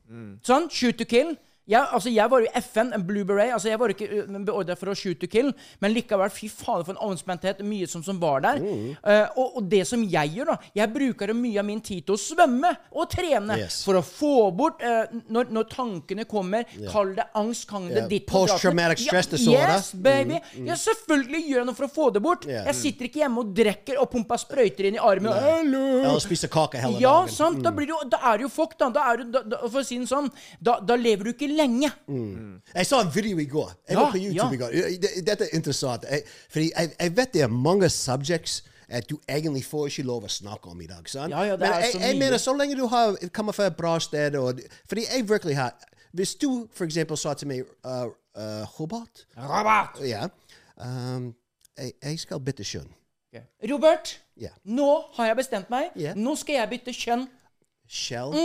Speaker 2: Mm.
Speaker 3: Sånn, shoot to kill. Jeg, altså, jeg var jo i FN, en Blue Beret. Altså, jeg var ikke eh, beordret for å shoot to kill, men likevel, fy faen for en avspenthet, mye som, som var der.
Speaker 2: Mm.
Speaker 3: Eh, og, og det som jeg gjør, da Jeg bruker jo mye av min tid til å svømme og trene
Speaker 2: Yes.
Speaker 3: for å få bort eh, når, når tankene kommer. Kall det angst, kall det
Speaker 2: Ja,
Speaker 3: ditt
Speaker 2: post-traumatic
Speaker 3: Ja,
Speaker 2: stress disorder.
Speaker 3: Yes, baby. Ja, selvfølgelig gjør jeg noe for å få det bort.
Speaker 2: Ja.
Speaker 3: Jeg sitter ikke hjemme og drikker og pumper sprøyter inn i armen.
Speaker 2: Eller
Speaker 3: Hallo!
Speaker 2: spise kake hele
Speaker 3: Ja,
Speaker 2: dagen.
Speaker 3: sant. Da, blir du, da er du jo fucked, da. da, er du, da, da for å si det sånn, da, da lever du ikke lenge.
Speaker 2: Jeg så en video i går. Jeg
Speaker 3: Ja,
Speaker 2: var på YouTube
Speaker 3: ja.
Speaker 2: i går. Det- Dette er interessant. Jeg, fordi jeg, jeg vet det er mange subjects eh, at du egentlig får ikke lov å snakke om i dag. sant?
Speaker 3: Ja, ja, det
Speaker 2: Men
Speaker 3: er
Speaker 2: jeg,
Speaker 3: så
Speaker 2: jeg
Speaker 3: mye.
Speaker 2: mener, så lenge du har, kommer fra et bra sted og, Fordi jeg virkelig har Hvis du for eksempel sa til meg uh, uh, Robert
Speaker 3: Robert!
Speaker 2: Ja. Um, jeg, jeg skal bytte kjønn.
Speaker 3: Robert,
Speaker 2: Ja.
Speaker 3: nå har jeg bestemt meg.
Speaker 2: Ja.
Speaker 3: Nå skal jeg bytte kjønn.
Speaker 2: Shell.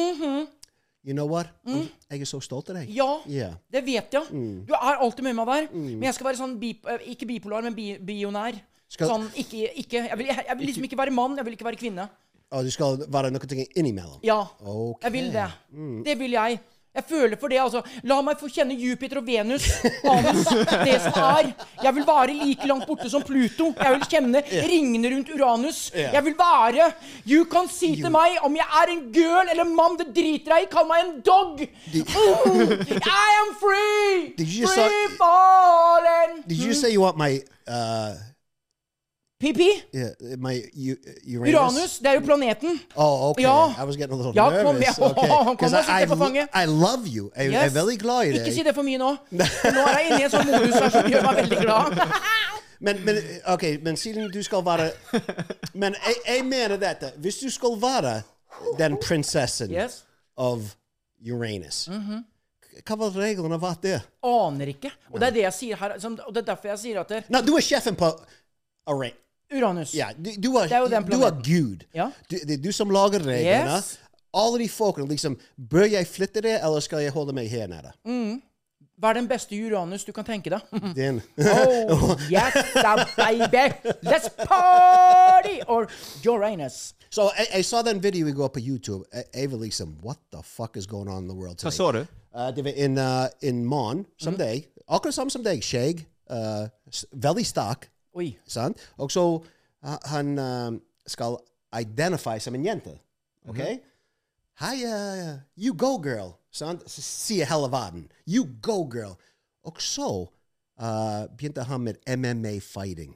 Speaker 2: You know what? Jeg er så stolt av deg.
Speaker 3: Mm-hmm. Mm. Ja,
Speaker 2: Ja.
Speaker 3: det vet jeg. Du er alltid med meg der. Men jeg skal være sånn bi, eh, ikke bipolar, men bi, bionær.
Speaker 2: Skal-
Speaker 3: Sånn, ikke, ikke, jeg, vil, jeg, jeg vil liksom ikke være mann, jeg vil ikke være kvinne.
Speaker 2: Og det skal være noen ting innimellom.
Speaker 3: Ja,
Speaker 2: Ok. Mm.
Speaker 3: jeg vil det. Det vil jeg. Jeg føler for det, altså. La meg få kjenne Jupiter og Venus, Anus, det som er. Jeg vil være like langt borte som Pluto. Jeg vil kjenne ringene rundt Uranus. Jeg vil være You can si til meg om jeg er en girl eller en mann, det driter jeg i. Kall meg en dog. Mm, I am free!
Speaker 2: Did you just
Speaker 3: free
Speaker 2: say-
Speaker 3: fallen!
Speaker 2: Did you say you want my uh,
Speaker 3: Pipi?
Speaker 2: yeah, my U- uh, Uranus?
Speaker 3: Uranus, det er jo planeten.
Speaker 2: Oh, okay.
Speaker 3: Ja.
Speaker 2: I was getting a little
Speaker 3: Ja, kom
Speaker 2: nervous.
Speaker 3: igjen. *laughs*
Speaker 2: Okay.
Speaker 3: Kom og
Speaker 2: 'Cause
Speaker 3: sitt
Speaker 2: I,
Speaker 3: deg på fanget.
Speaker 2: I, I love you. I,
Speaker 3: Yes.
Speaker 2: I'm very glad i
Speaker 3: Ikke si
Speaker 2: deg.
Speaker 3: det for mye
Speaker 2: *laughs*
Speaker 3: nå. For Nå er jeg inne i en sånn modus her som gjør meg veldig glad.
Speaker 2: Men, men, ok, men siden du skal
Speaker 3: *laughs*
Speaker 2: være Men jeg, jeg mener dette. Hvis du skal være den prinsessen
Speaker 3: Yes. Mm-hmm.
Speaker 2: of Uranus, hva var reglene vært der?
Speaker 3: Aner ikke. Og
Speaker 2: Mm.
Speaker 3: det er det jeg sier her. som- Og det er derfor jeg sier at det,
Speaker 2: Nei, du er sjefen på Uranus.
Speaker 3: Uranus
Speaker 2: Ja, du, du, er,
Speaker 3: Det er jo den
Speaker 2: du er
Speaker 3: planeten.
Speaker 2: Gud.
Speaker 3: Ja.
Speaker 2: Du, det er du som lager reglene.
Speaker 3: Yes.
Speaker 2: Alle de folkene liksom Bør jeg flytte det, eller skal jeg holde meg her nede?
Speaker 3: Hva er den beste Uranus du kan tenke
Speaker 2: *laughs*
Speaker 3: deg?
Speaker 2: Din.
Speaker 3: Oh, yes, da, baby! Let's party! Or Uranus.
Speaker 2: Så jeg, jeg så den videoen i går på YouTube. Jeg, jeg var liksom What the fuck is going on in the world today?
Speaker 4: Hva så du?
Speaker 2: Eh, det var en, eh, en mann som deg, akkurat samme som deg, skjegg, eh, s- veldig sterk,
Speaker 3: Oi.
Speaker 2: sant? Og så eh, han eh, skal identify som en jente, ok? Hei, eh, you go girl, sant? S- Sier hele verden, you go girl. Og så eh, begynte han med MMA-fighting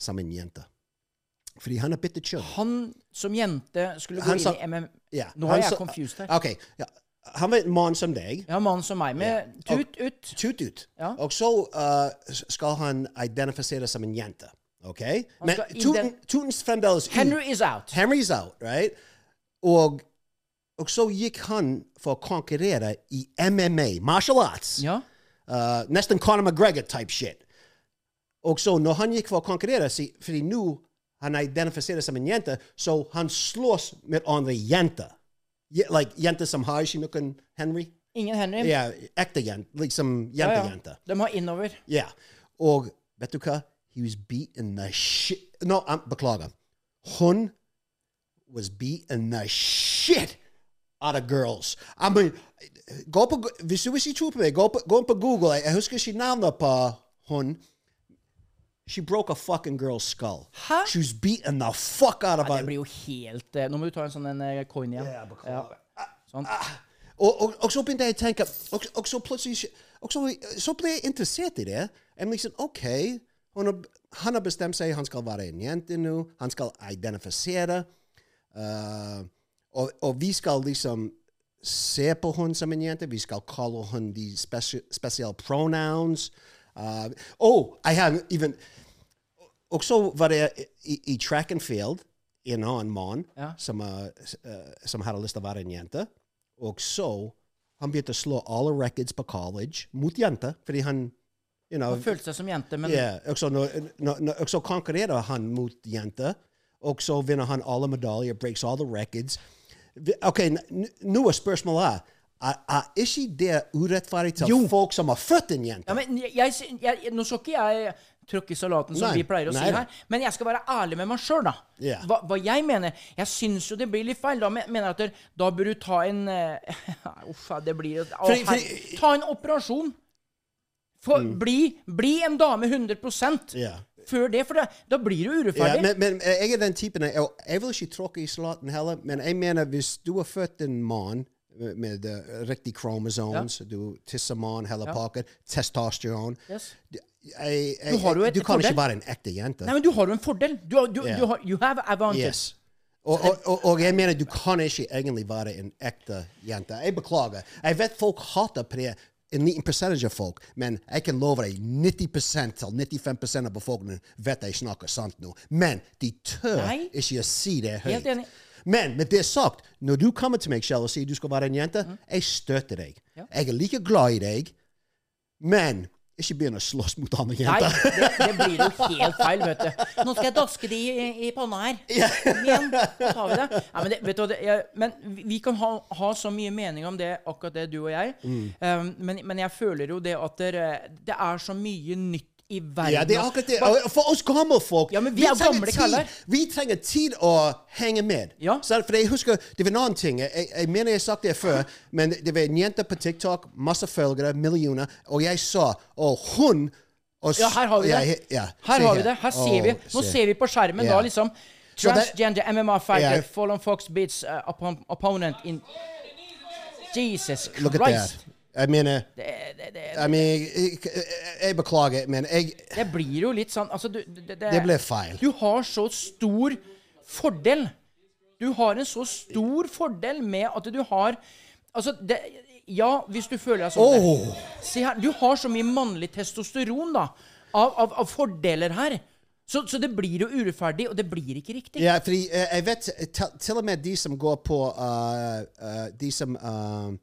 Speaker 2: som en jente. Fordi han har byttet kjønn.
Speaker 3: Han som jente skulle gå
Speaker 2: Han
Speaker 3: inn
Speaker 2: sa-
Speaker 3: i MM...
Speaker 2: Ja,
Speaker 3: Nå
Speaker 2: han
Speaker 3: er jeg
Speaker 2: så-
Speaker 3: confused her.
Speaker 2: Ok, ja. Han var en mann som deg.
Speaker 3: Ja, mann som meg med
Speaker 2: Ja.
Speaker 3: Eh, tut ut.
Speaker 2: Tut ut.
Speaker 3: Ja.
Speaker 2: Og så eh, s- skal han identifisere som en jente. Ok? Men
Speaker 3: skal iden-
Speaker 2: tuten, tutens fremdeles ut.
Speaker 3: Henry is out.
Speaker 2: Henry's out, right? Og, og så gikk han for å konkurrere i MMA, martial arts.
Speaker 3: Ja.
Speaker 2: Eh, nesten Conor McGregor type shit. Og så når han gikk for å konkurrere, si- fordi nå han identifiserer som en jente, så han slåss med andre jenter. Je- Like jenter som har ikke noen Henry.
Speaker 3: Ingen Henry.
Speaker 2: Ja, ekte jente. Liksom
Speaker 3: Ja, ja.
Speaker 2: jentejente.
Speaker 3: De har innover.
Speaker 2: Ja. Og vet du hva? He was beating the shit No, I'm, beklager. Hun was beating the shit out of girls. I mean, gå på, Go- hvis du ikke tror på meg, gå, på, gå inn på Google. Jeg husker ikke navnet på hun. She broke a fucking girl's skull.
Speaker 3: Hæ?
Speaker 2: She was beating the fuck out of
Speaker 3: Ja, det
Speaker 2: her.
Speaker 3: blir jo helt eh, Nå må du ta en sånn en eh, coin igjen. Ja. Sånn.
Speaker 2: Og, og, og så begynte jeg å tenke Og, og så plutselig og så, så ble jeg interessert i det. Jeg liksom, OK, hun har, han har bestemt seg, han skal være en jente nå. Han skal identifisere. eh, og, og vi skal liksom se på hun som en jente. Vi skal kalle hun de spesi spesielle pronouns. Uh, oh, I have even Og så var det i, i track and field en annen mann
Speaker 3: Ja.
Speaker 2: som, eh, s- eh, som hadde lyst til å være en jente. Og så han begynte å slå alle records på college mot jenter, fordi han you know,
Speaker 3: Han følte seg som jente, men
Speaker 2: ja, og så når- når- når- og så konkurrerer han mot jenter, og så vinner han alle medaljer, breaks alle records. Vi- Ok, n- n- nå er spørsmålet her. Er, er ikke det urettferdig til folk som har født en jente?
Speaker 3: Ja, men jeg, jeg, sy- jeg, nå skal ikke jeg tråkke i salaten, som
Speaker 2: Nei,
Speaker 3: vi pleier å
Speaker 2: nei
Speaker 3: si
Speaker 2: da.
Speaker 3: her, men jeg skal være ærlig med meg sjøl, da.
Speaker 2: Ja.
Speaker 3: Hva, hva jeg mener. Jeg syns jo det blir litt feil. Da me- mener jeg at der, da bør du ta en eh, *laughs* Uff, det blir jo å,
Speaker 2: Fordi-
Speaker 3: her-
Speaker 2: fordi- Mm.
Speaker 3: Ta en operasjon. Få- bli, bli en dame 100
Speaker 2: Ja.
Speaker 3: før det, for da- da blir du
Speaker 2: Ja,
Speaker 3: urettferdig.
Speaker 2: men, men jeg er den typen jeg, jeg vil ikke tråkke i salaten heller, men jeg mener hvis du er født en mann med, med eh, riktig kromosomes, du tisser mann, hele pakken, testosteron
Speaker 3: Yes.
Speaker 2: Du- jeg- jeg-
Speaker 3: Du har jo et
Speaker 2: Du kan ikke
Speaker 3: fordel.
Speaker 2: være en ekte jente.
Speaker 3: Nei, men du har jo en fordel. Du, har- du,
Speaker 2: Ja.
Speaker 3: du har, you have advantage.
Speaker 2: Yes. Og, og, og, og jeg mener, du kan ikke egentlig være en ekte jente. Jeg beklager. Jeg vet folk hater på det, en liten percentage av folk, men jeg kan love deg 90 til 95 av befolkningen vet jeg snakker sant nå. Men de tør
Speaker 3: Nei.
Speaker 2: ikke å si det høyt.
Speaker 3: Helt enig.
Speaker 2: Men med det sagt, når du kommer til meg selv og sier du skal være en jente,
Speaker 3: Mm.
Speaker 2: jeg støtter deg. Jeg er like glad i deg, men ikke begynn å slåss mot andre
Speaker 3: Nei,
Speaker 2: jenter.
Speaker 3: det, det blir jo helt feil, vet du. Nå skal jeg daske de i, i panna her. Kom igjen, så tar vi det. Nei, men, det, vet du, hva, det, jeg, men vi- vi kan ha, ha så mye mening om det,
Speaker 2: Mm.
Speaker 3: akkurat det, du og jeg. Um, men, men jeg føler jo det at det, det er eh, så mye nytt i verden.
Speaker 2: Ja, det er akkurat det. Og For oss gamle folk
Speaker 3: Ja, men vi er
Speaker 2: trenger
Speaker 3: gamle
Speaker 2: tid-
Speaker 3: kaller.
Speaker 2: Vi trenger tid å henge med.
Speaker 3: Ja.
Speaker 2: Så, for jeg husker, Det var en annen ting. Jeg, jeg mener jeg har sagt det før, *laughs* men det var en jente på TikTok, masse følgere, millioner, og jeg sa Og hun og s-
Speaker 3: Ja, her har vi det.
Speaker 2: jeg- ja, se
Speaker 3: her har vi det. Her ser vi.
Speaker 2: Å,
Speaker 3: Nå
Speaker 2: se.
Speaker 3: ser vi på skjermen
Speaker 2: Ja.
Speaker 3: da, liksom.
Speaker 2: Så det-
Speaker 3: Transgender MMA fighter,
Speaker 2: Ja.
Speaker 3: fallen fox beats uh, oppon- opponent in Jesus
Speaker 2: Look at that.
Speaker 3: Christ.
Speaker 2: Jeg mener
Speaker 3: Det, det, det,
Speaker 2: Jeg, mener, jeg, jeg beklager, men jeg,
Speaker 3: det blir jo litt sånn altså, du, det,
Speaker 2: det ble feil.
Speaker 3: Du har så stor fordel. Du har en så stor fordel med at du har Altså, det, ja, hvis du føler deg sånn
Speaker 2: Åh.
Speaker 3: Se her. Du har så mye mannlig testosteron, da. Av, av, av fordeler her. Så, så det blir jo urettferdig, og det blir ikke riktig.
Speaker 2: Ja, fordi eh, jeg vet til- til og med de som går på eh, eh, De som eh,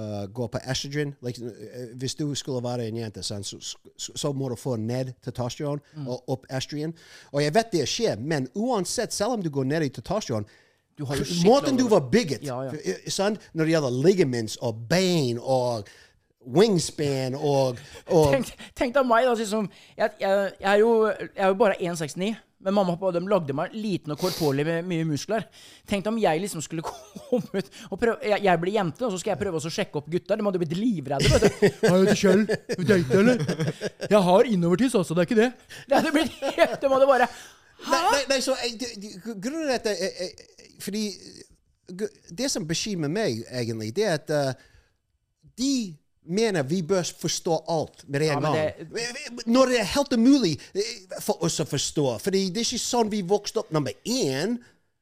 Speaker 2: eh, går på estrogen liksom, eh, Hvis du skulle være en jente, sant, så, så, så må du få ned testosteron og opp estrogen. Oh, Og jeg vet det skjer, men uansett, selv om du går ned i testosteron
Speaker 3: Du har jo skikkelig
Speaker 2: Måten du var bygget
Speaker 3: Ja, ja.
Speaker 2: eh, sant, når det gjelder ligaments og bein og wingspan og,
Speaker 3: *laughs*
Speaker 2: og
Speaker 3: Tenk, tenk deg meg, da. Liksom, jeg, jeg, jeg, er jo, jeg er jo bare 1,69. Men mamma og pappa de lagde meg liten og korporlig med mye muskler. Tenk om jeg liksom skulle *laughs* komme ut og prøve, jeg, jeg blir jente, og så skal jeg prøve også å sjekke opp gutter. De hadde blitt livredde. vet du. *laughs* Har du selv date, eller? Jeg har innovertiss, altså. Det er ikke det. *laughs* Det hadde blitt helt De hadde bare
Speaker 2: Nei, nei, nei, så jeg, det- det- grunnen til at jeg, jeg, jeg Fordi gu- det som bekymrer meg, egentlig, det er at eh, de mener vi bør forstå alt med en
Speaker 3: Ja, men
Speaker 2: gang. Når det er helt umulig eh, for oss å forstå. Fordi det er ikke sånn vi vokste opp, nummer én.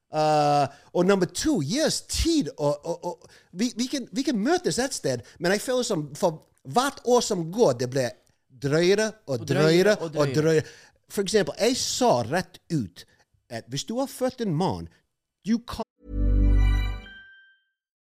Speaker 2: Eh, og nummer to, gi oss tid. Og, og, og, vi, vi, eh, kan, vi kan møtes et sted, men jeg føler som for hvert år som går, det blir drøyere og drøyere og drøyere. For eksempel, jeg sa rett ut at hvis du har født en mann, du kan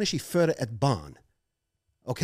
Speaker 2: ikke føde et barn. OK?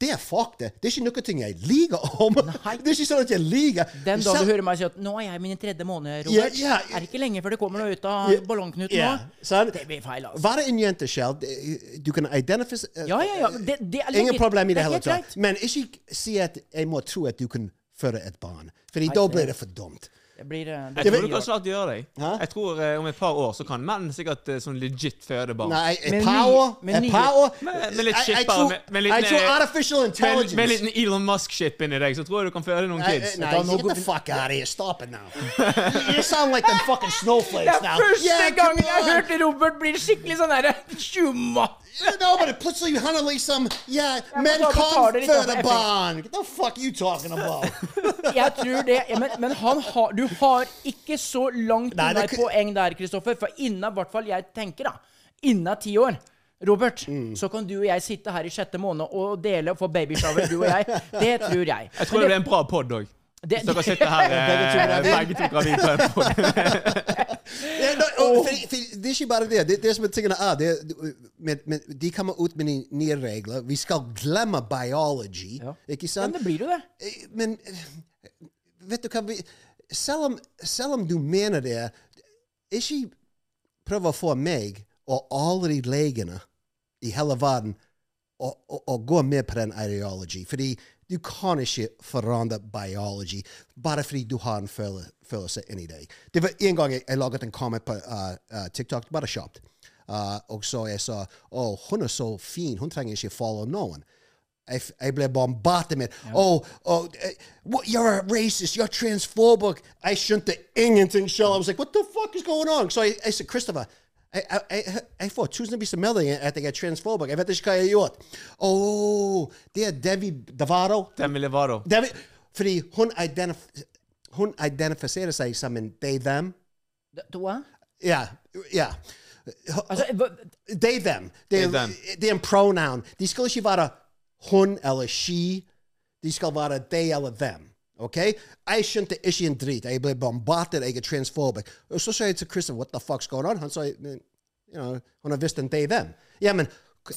Speaker 2: Det er fakta. Det er ikke noe ting jeg liker om. *laughs* Det er ikke sånn at jeg liker.
Speaker 3: Den
Speaker 2: Selv-
Speaker 3: dagen du hører meg si at 'nå er jeg i min tredje måned',
Speaker 2: Ja,
Speaker 3: Robert,
Speaker 2: ja.
Speaker 3: er det ikke lenge før det kommer noe ut av
Speaker 2: Ja,
Speaker 3: ballongknuten
Speaker 2: ja, sant?
Speaker 3: nå? Det blir feil, altså.
Speaker 2: Være en jente selv, det- du kan identifisere
Speaker 3: Ja, ja, ja, det- det er
Speaker 2: Ingen
Speaker 3: legit-
Speaker 2: problem i
Speaker 3: det
Speaker 2: det
Speaker 3: er
Speaker 2: hele
Speaker 3: helt
Speaker 2: tatt.
Speaker 3: greit.
Speaker 2: Men ikke si at jeg må tro at du kan føde et barn. Fordi da blir det for dumt.
Speaker 3: Det blir, eh, det
Speaker 4: Jeg
Speaker 3: blir
Speaker 4: tror du kan snart gjøre deg.
Speaker 2: Hæ?
Speaker 4: Jeg tror eh, Om et par år så kan menn sikkert eh, sånn legit føde barn.
Speaker 2: Nei,
Speaker 3: Men
Speaker 2: et power,
Speaker 3: ny- men
Speaker 2: et
Speaker 3: ny-
Speaker 2: power
Speaker 4: Med, med litt
Speaker 2: Jeg-
Speaker 4: shit,
Speaker 2: jeg
Speaker 4: bare.
Speaker 2: tror-
Speaker 4: Med, med litt,
Speaker 2: Jeg tror
Speaker 4: eh,
Speaker 2: artificial intelligence
Speaker 4: Med, med liten Elon Musk-shit inni deg, så tror jeg du kan føde noen
Speaker 2: I-
Speaker 4: kids.
Speaker 2: I- no, uh, get the fuck out of here. Stop it now. *laughs* you sound like them fucking snowflakes
Speaker 3: Det
Speaker 2: now.
Speaker 3: er første
Speaker 2: Yeah,
Speaker 3: gangen
Speaker 2: come
Speaker 3: jeg har
Speaker 2: on. *laughs*
Speaker 3: hørt Robert blir skikkelig sånn derre tjuma.
Speaker 2: You know, but it puts you under like some, yeah,
Speaker 3: but
Speaker 2: men
Speaker 3: no,
Speaker 2: come
Speaker 3: retarded, it's
Speaker 2: further
Speaker 3: not
Speaker 2: bond. What the fuck you talking *laughs* about?
Speaker 3: Jeg tror det. ja, Men, men han har, du har ikke så langt
Speaker 2: Nei,
Speaker 3: unna
Speaker 2: det
Speaker 3: et
Speaker 2: ku-
Speaker 3: poeng der, Kristoffer. For innen i hvert fall jeg tenker, da. Innen ti år. Robert, så kan du og jeg sitte her i sjette måned og dele og få babyshower, du og jeg. Det tror jeg.
Speaker 4: Jeg tror det blir en bra pod òg.
Speaker 3: Det-
Speaker 4: Hvis dere sitter
Speaker 2: *laughs*
Speaker 4: her eh, begge to gravid på en pod.
Speaker 2: Ja, no, og, for, for, det er ikke bare det. Det, det som er tingene er, det, er- men, men De kommer ut med de nye regler. Vi skal glemme biology.
Speaker 3: Ja.
Speaker 2: Ikke
Speaker 3: *laughs* Ja,
Speaker 2: sant?
Speaker 3: men det blir jo det.
Speaker 2: Eh, Men eh, vet du hva vi, selv, om, selv om du mener det, ikke prøv å få meg og alle de legene i hele verden å, å, å gå med på den ideology. Fordi du kan ikke forandre biology bare fordi du har en føle, følelse inni deg. Det var en gang jeg, jeg laget en comment på eh, eh, TikTok, bare kjapt. Eh, og så jeg sa å, hun er så fin, hun trenger ikke follow noen. Jeg, f- jeg ble bombardert med oh, oh, eh, what, You're a racist. You're transphobic. Jeg skjønte ingenting selv. I was like, What the fuck is going on? Så jeg, jeg sa Christopher jeg, jeg, jeg, jeg får tusenvis av meldinger at jeg er transphobic. Jeg vet ikke hva jeg har gjort. Oh, det er Devi Davaro.
Speaker 4: Demi Lovato.
Speaker 2: Devi, fordi hun, identif hun identifiserer seg som en they-them.
Speaker 3: Det- det var-
Speaker 2: Ja. ja.
Speaker 3: Altså, hva-
Speaker 2: They, them. Det er,
Speaker 4: They, them.
Speaker 2: det er en pronoun. De skal ikke være hun eller she. De skal være they eller them. Ok? Jeg skjønte ikke en drit. Jeg ble bombardert. Jeg er transphobic. Og så sa jeg til Christian, what the fuck's going on? Han sa, "Men, you know, hun har visst en they, them. Ja, men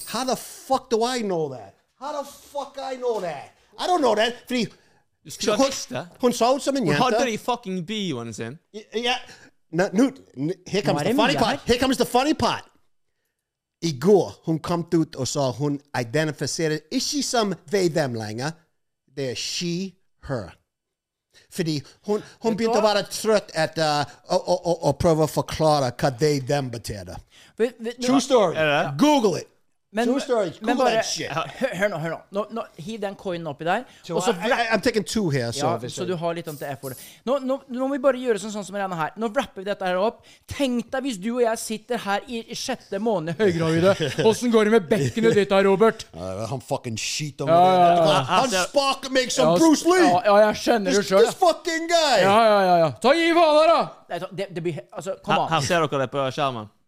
Speaker 2: how the fuck do I know that? How the fuck I know that? I don't know that. Fordi
Speaker 4: Du skulle ha
Speaker 2: hun,
Speaker 4: visst det.
Speaker 2: hun så ut som en
Speaker 4: Hun
Speaker 2: jente.
Speaker 4: hadde det i fucking bioen sin.
Speaker 2: Yeah. No, no, n- here comes
Speaker 3: Nå er
Speaker 2: the
Speaker 3: det
Speaker 2: funny
Speaker 3: mye
Speaker 2: part.
Speaker 3: her.
Speaker 2: Here comes the funny part. I går hun kom ut og sa hun identifiserer ikke som they, them lenger. Det er she, her. Fordi hun, hun begynte å være trøtt etter å, å, å, å prøve å forklare hva they, them betyr.
Speaker 3: vet- vet-
Speaker 2: True story.
Speaker 4: Er det?
Speaker 2: Google it.
Speaker 3: Men-
Speaker 2: True story. Google
Speaker 3: men bare-
Speaker 2: that shit.
Speaker 3: Hør, hør nå, hør nå. nå, nå hiv den coinen oppi der.
Speaker 2: So
Speaker 3: Og så
Speaker 2: I, I, I'm taking two here. So,
Speaker 3: Ja,
Speaker 2: hvis
Speaker 3: så
Speaker 2: jeg-
Speaker 3: du har litt om til F-ordet. Nå, nå, nå må vi bare gjøre sånn, sånn som denne her. Nå wrapper vi dette her opp. Tenk deg hvis du og jeg sitter her i i sjette måned
Speaker 2: *laughs*
Speaker 3: høygravide. Åssen går det med bekkenet ditt da, Robert?
Speaker 2: Uh, han fucking skit om
Speaker 3: ja, ja.
Speaker 2: det. Han sparker meg som
Speaker 3: Ja,
Speaker 2: Bruce Lee!
Speaker 3: Ja, ja, jeg skjønner det
Speaker 2: this,
Speaker 3: sjøl.
Speaker 2: this fucking guy!
Speaker 3: Ja, ja, ja, ja. Ta gi faen her, da! Nei, ta- Det, det blir he- Altså, kom
Speaker 4: Her,
Speaker 3: an.
Speaker 4: her ser dere det på skjermen.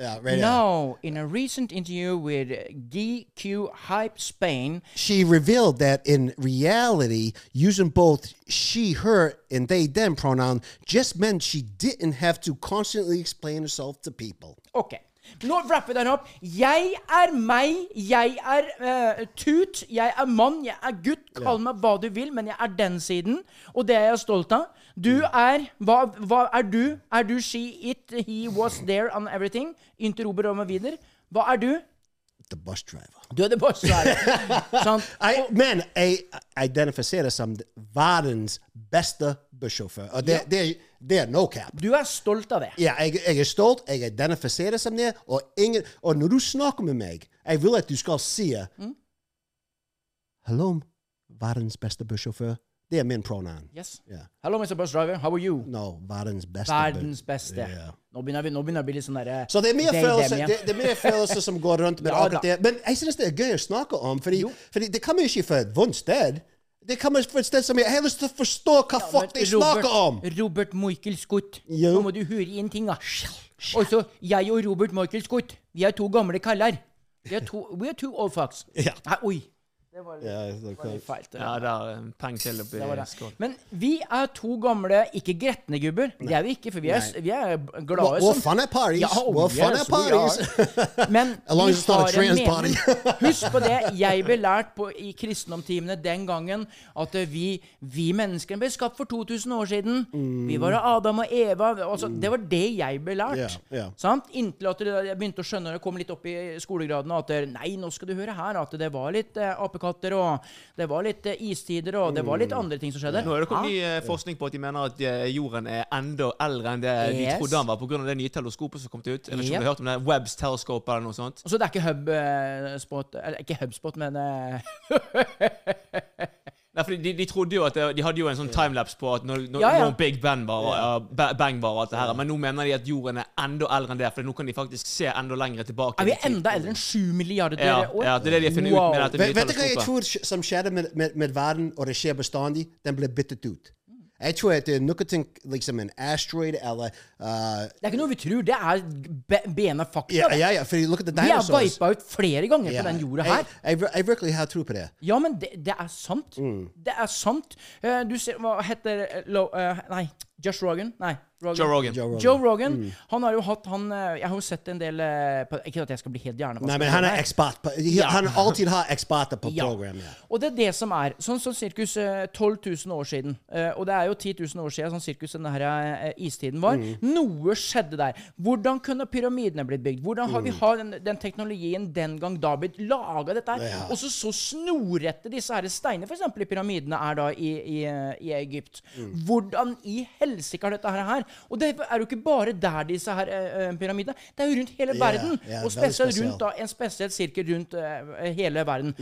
Speaker 2: Yeah, right now.
Speaker 3: Now, in a recent interview with GQ Hype Spain
Speaker 2: she revealed that in reality, using both she, her, and they, them pronoun just meant she didn't have to constantly explain herself to people.
Speaker 3: Ok. Nå wrapper vi den opp. Jeg er meg, jeg er eh, tut, jeg er mann, jeg er gutt. Kall meg hva du vil, men jeg er den siden, og det er jeg stolt av. Du er Hva, hva er du? Er du she, it, he, was there on everything? Inntil Robert Romer Wiener. Hva er du?
Speaker 2: The bus driver.
Speaker 3: Du er det
Speaker 2: *laughs*
Speaker 3: bossvære. Sant?
Speaker 2: I man, I identificerar som världens bästa bussjåför. Och det, det, det är no cap.
Speaker 3: Du er stolt av det.
Speaker 2: Ja, jeg, jeg er stolt, jeg identifiserer som det, og, ingen, og når du snakker med meg, jeg vil at du skal si Hallo, verdens beste bussjåfør. Det er min pronoun.
Speaker 3: Yes.
Speaker 2: Ja.
Speaker 3: Hello, Mr. Bus Driver. How are you?
Speaker 2: No, verdens beste. bu-
Speaker 3: Verdens beste.
Speaker 2: Ja.
Speaker 3: Nå begynner, vi, nå begynner jeg å bli litt sånn derre
Speaker 2: Så det er mye
Speaker 3: They,
Speaker 2: følelser
Speaker 3: them, ja.
Speaker 2: det, det er mye følelser *laughs* som går rundt med
Speaker 3: Ja,
Speaker 2: akkurat det. Men jeg synes det er gøy å snakke om, fordi, fordi det kommer ikke fra et vondt sted. Det kommer fra et sted som jeg har lyst til å forstå hva fuck de
Speaker 3: Men
Speaker 2: snakker om!
Speaker 3: Robert Michael Scott.
Speaker 2: Jo.
Speaker 3: Nå må du høre inn ting, da. Og så, jeg og Robert Michael Scott, vi er to gamle kaller. Vi er to, we are two old fucks.
Speaker 2: *laughs* Ja.
Speaker 3: Nei, oi.
Speaker 2: Ja, det er
Speaker 3: Litt feil. det
Speaker 4: Ja,
Speaker 3: der.
Speaker 4: der. eh, Peng til oppi
Speaker 3: Det var det.
Speaker 4: skålen.
Speaker 3: Men vi er to gamle, ikke gretne gubber. Det er vi ikke, for vi er, vi er glade
Speaker 2: We're fun at parties.
Speaker 3: Ja, oh,
Speaker 2: We're fun
Speaker 3: yes,
Speaker 2: at
Speaker 3: we are.
Speaker 2: parties.
Speaker 3: *laughs* Men
Speaker 2: *laughs* As long
Speaker 3: vi
Speaker 2: as it's not a
Speaker 3: har en
Speaker 2: trans
Speaker 3: mening.
Speaker 2: party.
Speaker 3: *laughs* Husk på det jeg ble lært på, i kristendomtimene den gangen, at eh, vi, vi menneskene ble skapt for 2000 år siden.
Speaker 2: Mm.
Speaker 3: Vi var av Adam og Eva. Altså, Det var det jeg ble lært.
Speaker 2: Ja, ja.
Speaker 3: Sant? Inntil at det- jeg begynte å skjønne når jeg kom litt opp i skolegradene at det- nei, nå skal du høre her at det var litt eh, apekatter, og det var litt eh, istider, og det var
Speaker 2: Mm.
Speaker 3: litt andre ting som skjedde.
Speaker 4: Nå er det
Speaker 3: Ja.
Speaker 4: kommet ny eh, forskning på at de mener at eh, jorden er enda eldre enn det de
Speaker 3: Yes.
Speaker 4: trodde den var, pga. det nye teleskopet som kom ut. Eller ikke om
Speaker 3: Yep.
Speaker 4: du har hørt om det, Webbs telescope eller noe sånt.
Speaker 3: Og så det er ikke hubspot Eller ikke hubspot, men eh, *laughs*
Speaker 4: Nei, fordi de, de trodde jo at det, De hadde jo en sånn timelapse på at når, når,
Speaker 3: Ja, ja.
Speaker 4: når Big Bang var, ja, ba- Bang var og alt det her, men nå mener de at jorden er enda eldre enn det, for nå kan de faktisk se enda lenger tilbake.
Speaker 3: Er vi
Speaker 4: i tid.
Speaker 3: enda eldre enn 7 milliarder
Speaker 4: ja,
Speaker 3: år?
Speaker 4: ja, det er det de har funnet ut med dette
Speaker 2: Vet
Speaker 4: nye
Speaker 2: vet du hva jeg
Speaker 4: teleskopet.
Speaker 2: tror sk- som skjedde med, med, med verden, og det skjer bestandig? Den ble byttet ut. Jeg tror at det er noe ting, liksom en asteroid eller uh,
Speaker 3: Det er ikke noe vi tror, det er be- bena fakta.
Speaker 2: Ja,
Speaker 3: det.
Speaker 2: ja, ja, for look at the
Speaker 3: Vi er
Speaker 2: dinosaurs.
Speaker 3: vipa ut flere ganger
Speaker 2: altså- Ja,
Speaker 3: på den jorda
Speaker 2: jeg-
Speaker 3: her.
Speaker 2: Jeg, vir- jeg virkelig har tro på det.
Speaker 3: Ja, men det, det er sant.
Speaker 2: Mm.
Speaker 3: Det er sant. Eh, du ser Hva heter eh, Lo, eh, Nei, Josh Rogan? Nei. Rogan.
Speaker 4: Joe Rogan.
Speaker 2: Joe Rogan. Mm.
Speaker 3: Joe Rogan. Han har jo hatt han eh, Jeg har jo sett en del eh, på, Ikke at jeg skal bli helt hjernevaska.
Speaker 2: Nei, men han er ekspert på he- Han alltid har eksperter på
Speaker 3: Ja.
Speaker 2: program. Ja.
Speaker 3: Og det er det som er. Sånn som cirkus eh, 12 000 år siden. eh, Og det er jo 10 000 år siden sånn cirkus den her eh, istiden var. Noe skjedde der. Hvordan kunne pyramidene blitt bygd? Hvordan har vi har den, den teknologien den gang da blitt laga dette her? Og så så snorrette disse her steinene f.eks. i pyramidene er da i, i, eh, i Egypt. Hvordan i helsike har dette her her? Og det er jo ikke bare der disse her eh, eh, pyramidene. Det er jo rundt hele
Speaker 2: Ja,
Speaker 3: verden.
Speaker 2: ja,
Speaker 3: og
Speaker 2: veldig spesiell.
Speaker 3: spesielt
Speaker 2: Mm.
Speaker 3: rundt da, en spesiell sirkel rundt eh, hele verden.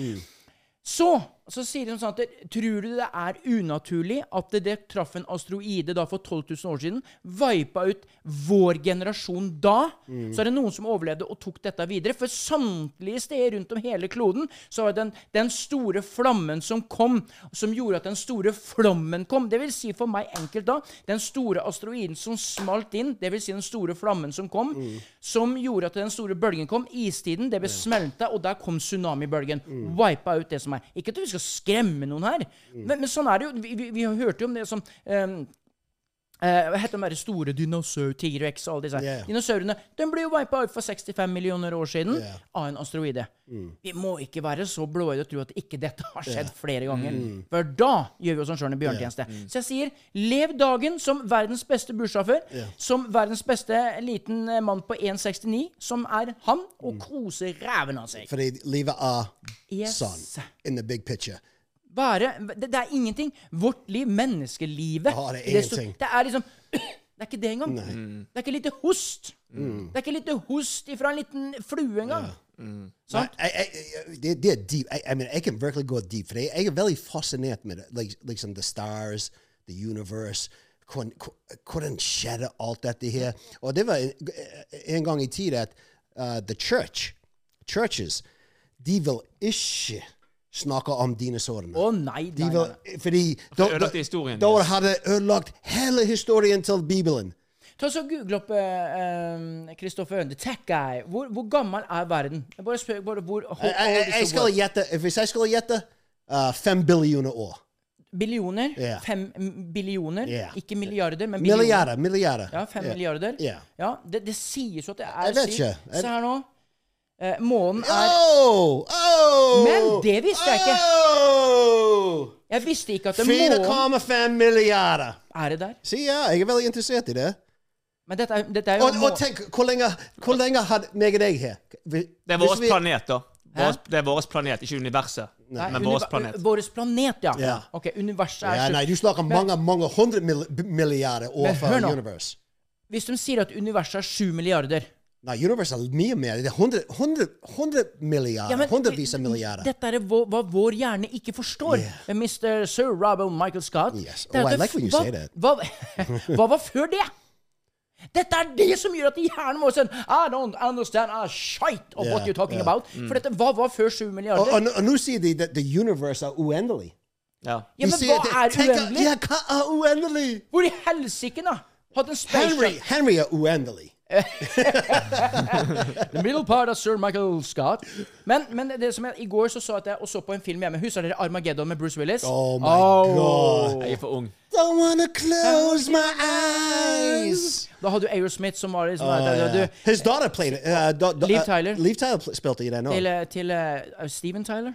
Speaker 3: Så, så sier de sånn at Tror du det er unaturlig at det, det traff en asteroide da for 12 000 år siden, vipa ut vår generasjon da?
Speaker 2: Mm.
Speaker 3: Så er det noen som overlevde og tok dette videre. For samtlige steder rundt om hele kloden så var det den, den store flammen som kom, som gjorde at den store flommen kom. Det vil si for meg enkelt da, den store asteroiden som smalt inn, det vil si den store flammen som kom, som gjorde at den store bølgen kom, istiden, det ble smelta, og der kom tsunamibølgen. Wipa ut det som er. Ikke at vi skal skremme noen her, men, men sånn er det jo. Vi, vi, vi hørte jo om det som ehm, eh, Hva heter de der store dinosaur, T-rex og alle disse her.
Speaker 2: Yeah.
Speaker 3: Dinosaurene de ble jo wipa ut for 65 millioner år siden
Speaker 2: Yeah.
Speaker 3: av en asteroide. Vi må ikke være så blåøyde og tro at ikke dette har skjedd flere ganger.
Speaker 2: Mm.
Speaker 3: For da gjør vi oss selv en bjørntjeneste. Så jeg sier, lev dagen som verdens beste bussjåfør, som verdens beste liten eh, mann på 1,69, som er han, og
Speaker 2: Mm.
Speaker 3: kose ræven av seg.
Speaker 2: Fordi livet er
Speaker 3: Yes.
Speaker 2: sånn. In the big picture.
Speaker 3: Bare, det, det er ingenting. Vårt liv, menneskelivet
Speaker 2: Ja, det er
Speaker 3: i sto-
Speaker 2: ingenting.
Speaker 3: Det er liksom *clears throat* Det er ikke det engang. Det er ikke lite host.
Speaker 2: Mm.
Speaker 3: Det er ikke lite host ifra en liten flue engang.
Speaker 2: Nei, jeg- jeg- jeg- det, det er deep. Jeg, jeg, mener, jeg kan virkelig gå deep, for jeg, jeg er veldig fascinert med det. Like, liksom the stars, the universe, hvordan, hvordan skjedde alt dette her? Og det var en, en gang i tid at uh, the church, churches, de vil ikke snakke om dinosaurene.
Speaker 3: Å nei,
Speaker 2: De
Speaker 3: nei, nei, nei.
Speaker 2: vil, fordi da,
Speaker 4: har ødelagt historien
Speaker 2: da
Speaker 4: deres.
Speaker 2: har de ødelagt hele historien til Bibelen.
Speaker 3: Ta så Google opp eh, Kristoffer uh, Ønde. Tech Guy. Hvor, hvor gammel er verden? Jeg bare spør bare hvor hvor-
Speaker 2: Jeg, jeg, jeg skal gjette, hvis jeg skal gjette, uh, fem billioner år.
Speaker 3: Billioner?
Speaker 2: Ja.
Speaker 3: Fem m- billioner?
Speaker 2: Ja.
Speaker 3: Ikke milliarder, men billioner.
Speaker 2: Milliarder, milliarder.
Speaker 3: Ja, fem
Speaker 2: Ja.
Speaker 3: milliarder.
Speaker 2: Ja.
Speaker 3: Ja, det, det sies jo at det er
Speaker 2: Jeg vet
Speaker 3: sykt.
Speaker 2: ikke. Jeg-
Speaker 3: Se her nå. Eh, månen er
Speaker 2: Oh, oh,
Speaker 3: Men det visste jeg ikke.
Speaker 2: Oh,
Speaker 3: Jeg visste ikke at det månen
Speaker 2: 4,5 milliarder.
Speaker 3: Er det der?
Speaker 2: Se, ja, jeg er veldig interessert i det.
Speaker 3: Men dette er, dette er jo
Speaker 2: Og,
Speaker 3: månen.
Speaker 2: og tenk, hvor lenge, hvor lenge har meg og deg her? Vi-
Speaker 4: Det er
Speaker 2: hvis
Speaker 4: vår
Speaker 2: vi-
Speaker 4: planet, da. Vår,
Speaker 3: Hæ?
Speaker 4: det er vår planet, ikke universet.
Speaker 3: Nei,
Speaker 4: Men
Speaker 3: univer-
Speaker 4: vår planet.
Speaker 3: Vår planet, ja.
Speaker 2: Ja.
Speaker 3: Ok, universet er
Speaker 2: Ja,
Speaker 3: slutt.
Speaker 2: nei, du snakker mange, mange hundre mil- milliarder år
Speaker 3: Men
Speaker 2: fra
Speaker 3: hør nå.
Speaker 2: universe.
Speaker 3: Hvis de sier at universet er sju milliarder
Speaker 2: Nei, universe er mye mer. Det er hundre, hundre, hundre milliarder.
Speaker 3: Ja, men
Speaker 2: hundrevis av
Speaker 3: det-
Speaker 2: milliarder.
Speaker 3: Dette er hva, hva vår hjerne ikke forstår. Mr. Sir Robert Michael Scott.
Speaker 2: Yes.
Speaker 3: Det er
Speaker 2: Oh,
Speaker 3: at
Speaker 2: I
Speaker 3: det-
Speaker 2: like when you
Speaker 3: hva,
Speaker 2: say that.
Speaker 3: Hva, *laughs* hva var før det? Dette er det som gjør at hjernen vår sier I don't understand a shite of what
Speaker 2: Yeah,
Speaker 3: you're talking
Speaker 2: yeah.
Speaker 3: about. For dette, hva var før sju
Speaker 2: Mm. og,
Speaker 3: milliarder?
Speaker 2: og, og nå sier de at the universe er uendelig.
Speaker 4: Ja.
Speaker 3: ja, men
Speaker 2: de sier
Speaker 3: hva er
Speaker 2: at det- tenk at-
Speaker 3: uendelig?
Speaker 2: Ja, hva er uendelig?
Speaker 3: Hvor i helsike, da? Hadde en
Speaker 2: Henry,
Speaker 3: spaceship
Speaker 2: Henry er uendelig.
Speaker 3: The middle part of Sir Michael Scott. Men, men det som jeg, i går så så at jeg og så på en film hjemme. Husker dere Armageddon med Bruce Willis?
Speaker 2: Oh my
Speaker 3: Oh.
Speaker 2: god.
Speaker 4: Jeg er for ung.
Speaker 2: Don't wanna close my eyes.
Speaker 3: Da hadde du Aerosmith som var liksom
Speaker 2: Uh,
Speaker 3: du,
Speaker 2: his daughter played it. Uh, da, da,
Speaker 3: Liv
Speaker 2: uh,
Speaker 3: Tyler.
Speaker 2: Liv Tyler pl- spilte i den òg.
Speaker 3: Til, eh, til eh, Steven Tyler?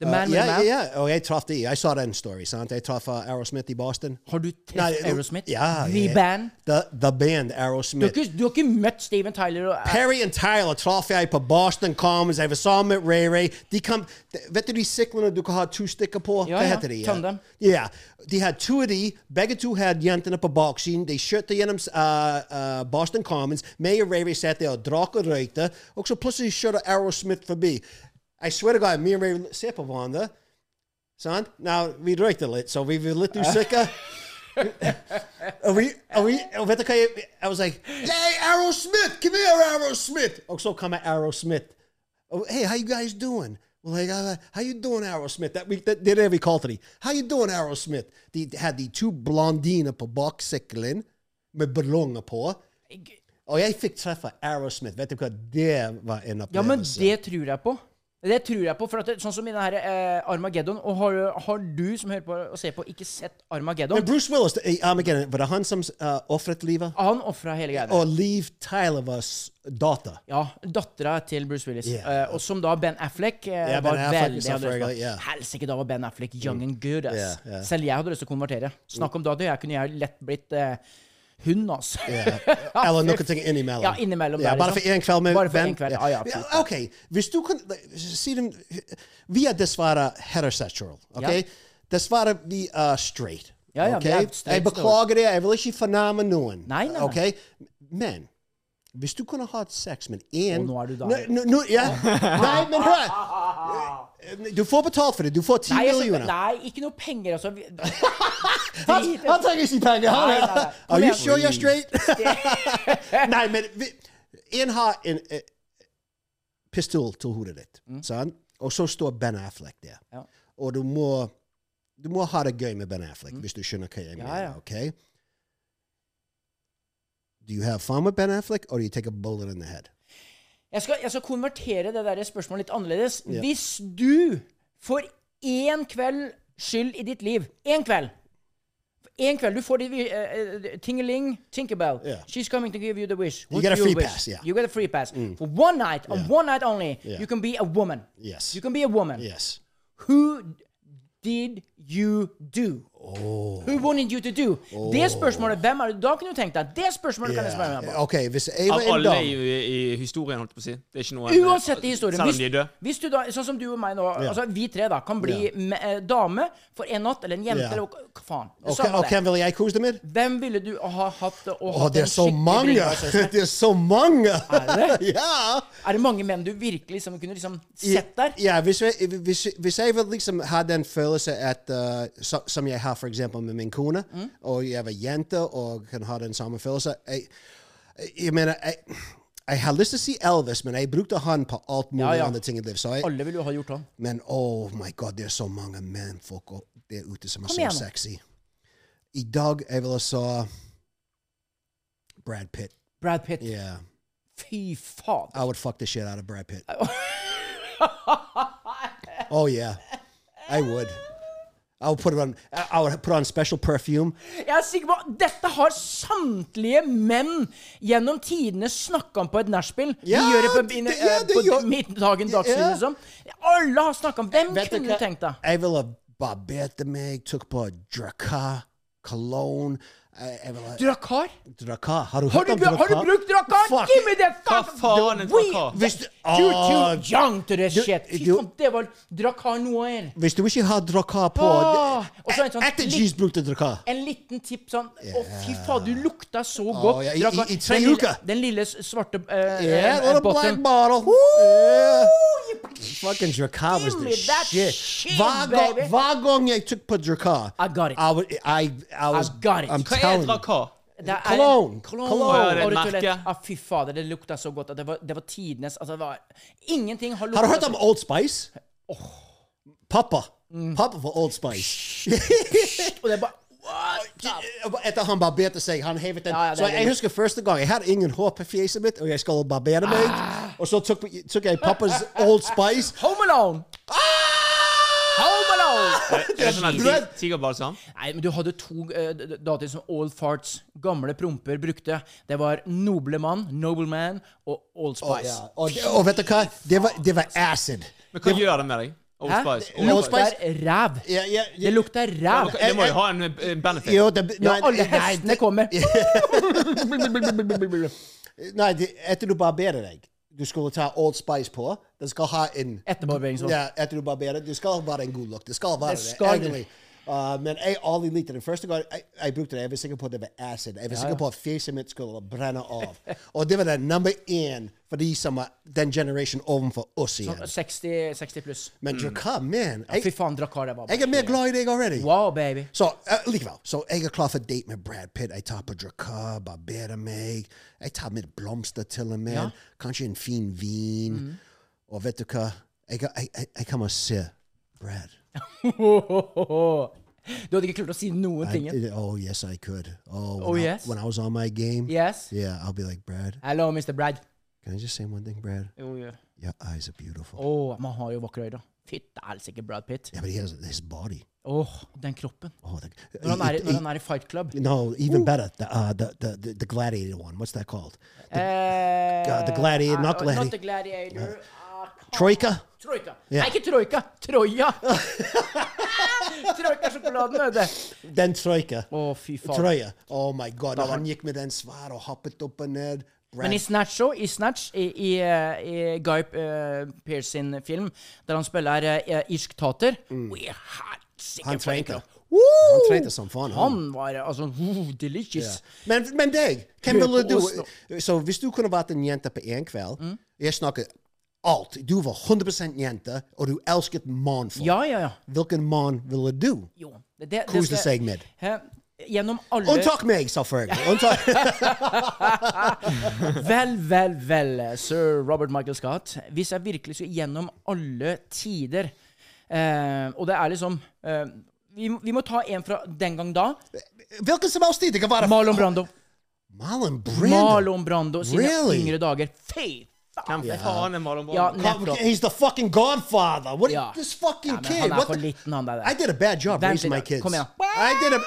Speaker 3: The
Speaker 2: Oh. Uh,
Speaker 3: Man with
Speaker 2: ja,
Speaker 3: the Map?
Speaker 2: ja, ja. Og jeg traff de. Jeg så den story, sant? Jeg traff uh, Aerosmith i Boston.
Speaker 3: Har du
Speaker 2: Nei,
Speaker 3: truffet Aerosmith?
Speaker 2: Ja,
Speaker 3: The
Speaker 2: ja.
Speaker 3: Band?
Speaker 2: The, the band
Speaker 3: Du har,
Speaker 2: Aerosmith.
Speaker 3: ikke, du har ikke møtt Steven Tyler og eh,
Speaker 2: Perry and Tyler traff jeg på Boston Commons. Jeg så med Ray Ray. De kom, de, vet du de syklene du kan ha to stykker på?
Speaker 3: Ja,
Speaker 2: Hva
Speaker 3: ja.
Speaker 2: heter de?
Speaker 3: Tandem.
Speaker 2: Ja. De hadde to av de. Begge to hadde jentene på baksiden. De kjørte gjennom uh, uh, Boston Commons. Meg og Ray Ray satt der og drakk og røykte. Og så plutselig kjørte Aerosmith forbi. I swear to God, me and Ray ser på hverandre. Sant? Nå, vi røykte litt, så vi var litt usikre. Og vi, og vi, og vet du hva jeg I was like, Hey, Aerosmith! Come here, Aerosmith! Oh, Og så kommer Aerosmith. Oh, hey, how you guys doing? Well, like, uh, how you doing, Aerosmith? That we, that, did every call today. How you doing, Aerosmith? De hadde de to blondiner på baksykkelen med ballonger på. Og jeg fikk treffe Aerosmith. Vet du hva? Det var en opplevelse.
Speaker 3: Ja, men det tror jeg på. Det tror jeg på, for at det, Sånn som i den her eh, Armageddon. Og har, har du som hører på og ser på, ikke sett Armageddon?
Speaker 2: Men Bruce Willis, i Armageddon, var det han som uh, ofret livet?
Speaker 3: Han ofra hele greia.
Speaker 2: Og Liv Tyler var s- datter.
Speaker 3: Ja, dattera til Bruce Willis.
Speaker 2: Yeah.
Speaker 3: eh, og som da Ben Affleck eh,
Speaker 2: Yeah, Ben
Speaker 3: var
Speaker 2: Affleck is
Speaker 3: veldig hadde lyst til å-
Speaker 2: selvfølgelig, yeah. Mm.
Speaker 3: Helsike, da var Ben Affleck young and good. Ass.
Speaker 2: Yeah, yeah.
Speaker 3: Selv jeg hadde lyst til å konvertere. Snakk om da, det jeg kunne jeg lett blitt eh, hund, altså.
Speaker 2: Eller noe ting innimellom.
Speaker 3: Ja, innimellom
Speaker 2: Ja,
Speaker 3: der,
Speaker 2: bare
Speaker 3: liksom.
Speaker 2: for én kveld med
Speaker 3: Bare for
Speaker 2: Ben.
Speaker 3: en kveld,
Speaker 2: Ja.
Speaker 3: oh ja, ja, fy faen.
Speaker 2: Ok, hvis du kan si dem Vi er dessverre heterosexual. ok?
Speaker 3: Ja.
Speaker 2: Dessverre vi er eh, straight.
Speaker 3: Ja, ja,
Speaker 2: ok?
Speaker 3: vi er straight
Speaker 2: jeg beklager det. Jeg vil ikke fornærme noen.
Speaker 3: Nei, nei, nei.
Speaker 2: ok? Men hvis du kunne hatt sex med én
Speaker 3: Oh, nou, Å, nå er du der. *laughs*
Speaker 2: Nå- nå- nå- ja. Nei, men hør! Du får betalt for det. Du får ti
Speaker 3: *laughs* Nei, altså,
Speaker 2: millioner.
Speaker 3: nei, ikke noe penger, altså. Vi- *laughs*
Speaker 2: Han,
Speaker 3: Drit-
Speaker 2: han trenger ikke penger. Han,
Speaker 3: Nei, nei, nei.
Speaker 2: *laughs* Are
Speaker 3: Kom
Speaker 2: you
Speaker 3: igjen.
Speaker 2: sure you're straight? *laughs* nei, men vi, en har en eh, pistol til hodet ditt, sant? og så står Ben Affleck der.
Speaker 3: Ja.
Speaker 2: Og du må, du må ha det gøy med Ben Affleck, hvis du skjønner hva jeg
Speaker 3: Ja,
Speaker 2: mener.
Speaker 3: ja.
Speaker 2: ok? Do you have fun with Ben Affleck, or do you take a bullet in the head?
Speaker 3: Jeg skal, jeg skal konvertere det der spørsmålet litt annerledes.
Speaker 2: Ja.
Speaker 3: Hvis du for én kveld skyld i ditt liv Én kveld! Én kveld. Du får ditt uh, Tingeling, Tinkerbell.
Speaker 2: Ja.
Speaker 3: She's coming to give you the wish.
Speaker 2: You
Speaker 3: What
Speaker 2: get a
Speaker 3: do
Speaker 2: free
Speaker 3: wish?
Speaker 2: pass, yeah. Mm.
Speaker 3: You get a free pass. For one night, on
Speaker 2: Yeah.
Speaker 3: one night only,
Speaker 2: Yeah.
Speaker 3: you can be a woman.
Speaker 2: Yes.
Speaker 3: You can be a woman.
Speaker 2: Yes.
Speaker 3: Who did you do?
Speaker 2: Oh.
Speaker 3: Who wanted you to do? Det spørsmålet, hvem er det? Da kunne du tenkt deg. Det spørsmålet kan jeg spørre meg
Speaker 2: Yeah.
Speaker 3: på.
Speaker 2: Ok, hvis jeg
Speaker 4: Av
Speaker 2: var en
Speaker 4: alle i,
Speaker 2: dame
Speaker 4: i historien, holdt jeg på å si. Det er ikke noe eh,
Speaker 2: eh,
Speaker 3: Uansett i historien.
Speaker 4: Selv om de er døde.
Speaker 3: hvis du da, sånn som du og meg nå,
Speaker 2: Ja.
Speaker 3: altså vi tre da, kan bli
Speaker 2: Ja.
Speaker 3: me- eh, dame for en natt, eller en jente,
Speaker 2: Ja.
Speaker 3: eller hva- hva faen. Det
Speaker 2: Og
Speaker 3: samme
Speaker 2: og
Speaker 3: det.
Speaker 2: hvem vil jeg kose deg med?
Speaker 3: Hvem ville du ha hatt og
Speaker 2: Å,
Speaker 3: hatt
Speaker 2: det er
Speaker 3: en
Speaker 2: så
Speaker 3: skikkelig
Speaker 2: mange! *laughs*
Speaker 3: brilleassessment?
Speaker 2: Det er så mange! *laughs*
Speaker 3: Er
Speaker 2: ja!
Speaker 3: Er det mange menn du virkelig liksom, kunne liksom sett der?
Speaker 2: Ja, hvis jeg, hvis, hvis jeg vil liksom ha den følelsen at, uh, so, som jeg har for eksempel med min kone,
Speaker 3: Mm.
Speaker 2: og jeg var jente og kan ha den samme følelsen jeg, jeg mener, jeg, jeg har lyst til å si Elvis, men jeg brukte han på alt mulig
Speaker 3: Ja, ja.
Speaker 2: andre ting i livet. Så jeg,
Speaker 3: Alle ville jo ha gjort sånn. han.
Speaker 2: men oh my god, det er så mange menn folk opp- der ute som er
Speaker 3: Kom
Speaker 2: så
Speaker 3: igjen nå.
Speaker 2: sexy. I dag jeg ville så Brad Pitt.
Speaker 3: Brad Pitt.
Speaker 2: Yeah.
Speaker 3: Fy faen.
Speaker 2: I would fuck the shit out of Brad
Speaker 3: *laughs*
Speaker 2: Pitt. oh yeah, I would. I would put it on. I I would put on special perfume.
Speaker 3: Jeg er sikker på Dette har samtlige menn gjennom tidene snakka om på et nachspiel.
Speaker 2: Ja,
Speaker 3: de gjør det på,
Speaker 2: det-
Speaker 3: inne,
Speaker 2: det- ja,
Speaker 3: eh,
Speaker 2: det
Speaker 3: på
Speaker 2: gjør-
Speaker 3: middagen, dagsrevyen,
Speaker 2: Ja.
Speaker 3: liksom. Alle har snakka om Hvem
Speaker 2: Vet du
Speaker 3: kunne
Speaker 2: hva?
Speaker 3: du tenkt deg?
Speaker 2: Jeg ville barbert meg, tok på drakar, cologne. eh, Jeg jeg ville
Speaker 3: Drakar?
Speaker 2: Drakar? Har du
Speaker 3: Har
Speaker 2: hørt
Speaker 3: du,
Speaker 2: om
Speaker 3: bru-
Speaker 2: drakar?
Speaker 3: har du brukt drakar?
Speaker 2: Fuck.
Speaker 3: Give me the
Speaker 4: Hva
Speaker 3: fuck
Speaker 4: faen er
Speaker 3: the
Speaker 4: det for hva?
Speaker 2: Hvis du,
Speaker 3: You're
Speaker 2: Ah,
Speaker 3: too young to this
Speaker 2: du-
Speaker 3: shit. Fy
Speaker 2: du-
Speaker 3: faen, det var drakar noir.
Speaker 2: hvis du ikke har drakar på
Speaker 3: Ah, og så en sånn
Speaker 2: Etter
Speaker 3: litt-
Speaker 2: G's brukte drakar.
Speaker 3: En liten tipp sånn Å, fy faen, du lukta så godt.
Speaker 2: Ah, ja, i- i- i tre
Speaker 3: Den lille-
Speaker 2: uker.
Speaker 3: Den lille s- svarte eh,
Speaker 2: Yeah,
Speaker 3: eh,
Speaker 2: what a black
Speaker 3: botten.
Speaker 2: bottle. Yeah. Fucking Drakkar was
Speaker 3: Give
Speaker 2: the
Speaker 3: me that
Speaker 2: shit.
Speaker 3: shit,
Speaker 2: Hver gang-
Speaker 3: baby.
Speaker 2: Hver gang jeg tok på Drakkar
Speaker 3: I got it.
Speaker 2: I, would- I, I was,
Speaker 3: got it.
Speaker 2: I'm
Speaker 4: Hva er
Speaker 2: telling you.
Speaker 4: draka?
Speaker 3: Det er-
Speaker 2: Cologne.
Speaker 3: Cologne.
Speaker 2: Cologne.
Speaker 4: Ja, det er et
Speaker 3: Og rett og slett-
Speaker 4: merke.
Speaker 3: Ja, Ah, fy fader, det lukta så godt. At det, var, det var tidenes altså, det var, Ingenting har lukta
Speaker 2: Har du hørt
Speaker 3: så-
Speaker 2: om Old Spice? Pappa. Pappa var Old Spice.
Speaker 3: Og det er bare What the
Speaker 2: Etter han barberte seg, han hevet den.
Speaker 3: Ja, ja, det
Speaker 2: så
Speaker 3: er
Speaker 2: jeg
Speaker 3: det.
Speaker 2: husker første gang, jeg hadde ingen hår på fjeset mitt, og jeg skulle barbere meg. Og så tok, tok jeg pappas Old Spice.
Speaker 3: Home Alone! Home Alone!
Speaker 4: Er det sånn her
Speaker 2: Brad-
Speaker 4: ti- tigerbalsam?
Speaker 3: Nei, men du hadde to eh, d- d- datoer som Old Farts, gamle promper, brukte. Det var Noble Mann, Noble Man og Old
Speaker 2: Og,
Speaker 3: Spice.
Speaker 2: ja, og, og vet du hva? Det var, det var acid.
Speaker 4: Men hva gjør det med deg? Old
Speaker 3: Hæ?
Speaker 4: Spice.
Speaker 3: Det
Speaker 2: Old
Speaker 3: lukter
Speaker 2: Spice.
Speaker 3: ræv.
Speaker 2: Ja, ja,
Speaker 3: Det lukter ræv.
Speaker 4: Det må jo ha en eh, benefit.
Speaker 2: Jo, det,
Speaker 3: Ja,
Speaker 2: nei,
Speaker 3: alle
Speaker 2: nei,
Speaker 3: hestene
Speaker 2: det- *laughs*
Speaker 3: kommer.
Speaker 2: Nei, det, etter du barberer deg, du skulle ta Old Spice på. Den skal ha en
Speaker 3: Etterbarberingsvåpen.
Speaker 2: Ja, etter du barberer, det skal være en god lukt. Det skal være
Speaker 3: Det
Speaker 2: det,
Speaker 3: skal det.
Speaker 2: egentlig. Uh, men jeg aldri likte det. Første gang jeg, jeg brukte det, jeg var sikker på at det var acid. Jeg var sikker på at fjeset mitt skulle brenne av. Og det var det nummer én for de som er den generasjonen ovenfor oss igjen.
Speaker 3: 60, 60 pluss.
Speaker 2: Men Drakkar, man,
Speaker 3: Mm. Fy
Speaker 2: jeg,
Speaker 3: faen, Drakkar, det var
Speaker 2: jeg er mer glad i deg already.
Speaker 3: Wow, baby. *laughs*
Speaker 2: Så eh, likevel. Så jeg er klar for date med Brad Pitt. Jeg tar på drakar, barberer meg. Jeg tar med blomster til og med. Kanskje en fin vin.
Speaker 3: Mm-hmm.
Speaker 2: Og vet du hva? Jeg, jeg, jeg, jeg kommer og ser Brad.
Speaker 3: Du hadde ikke klart å si noen ting.
Speaker 2: I, oh, yes, I could. Oh, when,
Speaker 3: Oh,
Speaker 2: I,
Speaker 3: yes?
Speaker 2: when I was on my game,
Speaker 3: Yes?
Speaker 2: yeah, I'll be like, Brad,
Speaker 3: Hello, Mr. Brad.
Speaker 2: can I just say one thing, Brad?
Speaker 3: Å,
Speaker 2: Your eyes are beautiful.
Speaker 3: man har jo vakre øyne. Fytte helsike, Brad Pitt.
Speaker 2: Yeah, but he has his body.
Speaker 3: Åh, den kroppen.
Speaker 2: Oh, the,
Speaker 3: Når han er, i- når han er i Fight Club.
Speaker 2: no, even better. The, uh, the, the, the, the gladiator one. What's that called? The
Speaker 3: Eh,
Speaker 2: God, the gladiator,
Speaker 3: eh,
Speaker 2: not
Speaker 3: eh,
Speaker 2: gladi-
Speaker 3: Not the gladiator. Ah, come
Speaker 2: Troika?
Speaker 3: on. Troika.
Speaker 2: Ja.
Speaker 3: Nei, ikke troika. *laughs* Troja. Troika-sjokoladen, vet du.
Speaker 2: Den troika.
Speaker 3: Å, fy faen.
Speaker 2: Trøye. Oh my god.
Speaker 3: Da
Speaker 2: Og
Speaker 3: var-
Speaker 2: han gikk med den svær og hoppet opp og ned. Brad,
Speaker 3: Men i Snatch òg, i Snatch, i, i, eh, i Guy eh, Pearce sin film, der han spiller eh, irsk tater Og jeg er helsike
Speaker 2: Mm. han
Speaker 3: for en
Speaker 2: trente.
Speaker 3: kropp.
Speaker 2: Han trente som faen. Han.
Speaker 3: Han var altså woo, delicious.
Speaker 2: Men, men deg, hvem
Speaker 3: Hør
Speaker 2: ville
Speaker 3: på
Speaker 2: du
Speaker 3: oss nå. Hm?
Speaker 2: Så hvis du kunne vært en jente på én kveld Jeg snakker alt. Du var 100 jente, og du elsket mannfolk.
Speaker 3: Ja, ja, ja.
Speaker 2: Hvilken mann ville du
Speaker 3: Jo. Det, det,
Speaker 2: kose
Speaker 3: skal-
Speaker 2: seg med?
Speaker 3: Hæ? Gjennom alle
Speaker 2: Unntak meg, selvfølgelig. *laughs* Unntak.
Speaker 3: Vel, vel, vel, sir Robert Michael Scott. Hvis jeg virkelig skulle gjennom alle tider eh, Og det er liksom eh, vi, vi må ta en fra den gang da.
Speaker 2: Hvilken som helst tid. Det kan være
Speaker 3: Marlon Brando.
Speaker 2: Marlon Brando.
Speaker 3: Marlon Brando sine
Speaker 2: Really?
Speaker 3: yngre dager. Fy faen!
Speaker 4: Hvem faen er Marlon
Speaker 3: Ja,
Speaker 4: Brando?
Speaker 2: Come-
Speaker 3: nettopp.
Speaker 2: He's the fucking godfather. What
Speaker 3: Ja.
Speaker 2: this fucking
Speaker 3: Ja, men
Speaker 2: kid?
Speaker 3: han er
Speaker 2: what
Speaker 3: for
Speaker 2: the-
Speaker 3: liten, han der.
Speaker 2: I did a bad job
Speaker 3: Vent
Speaker 2: raising
Speaker 3: litt,
Speaker 2: my kids.
Speaker 3: kom igjen.
Speaker 2: I did a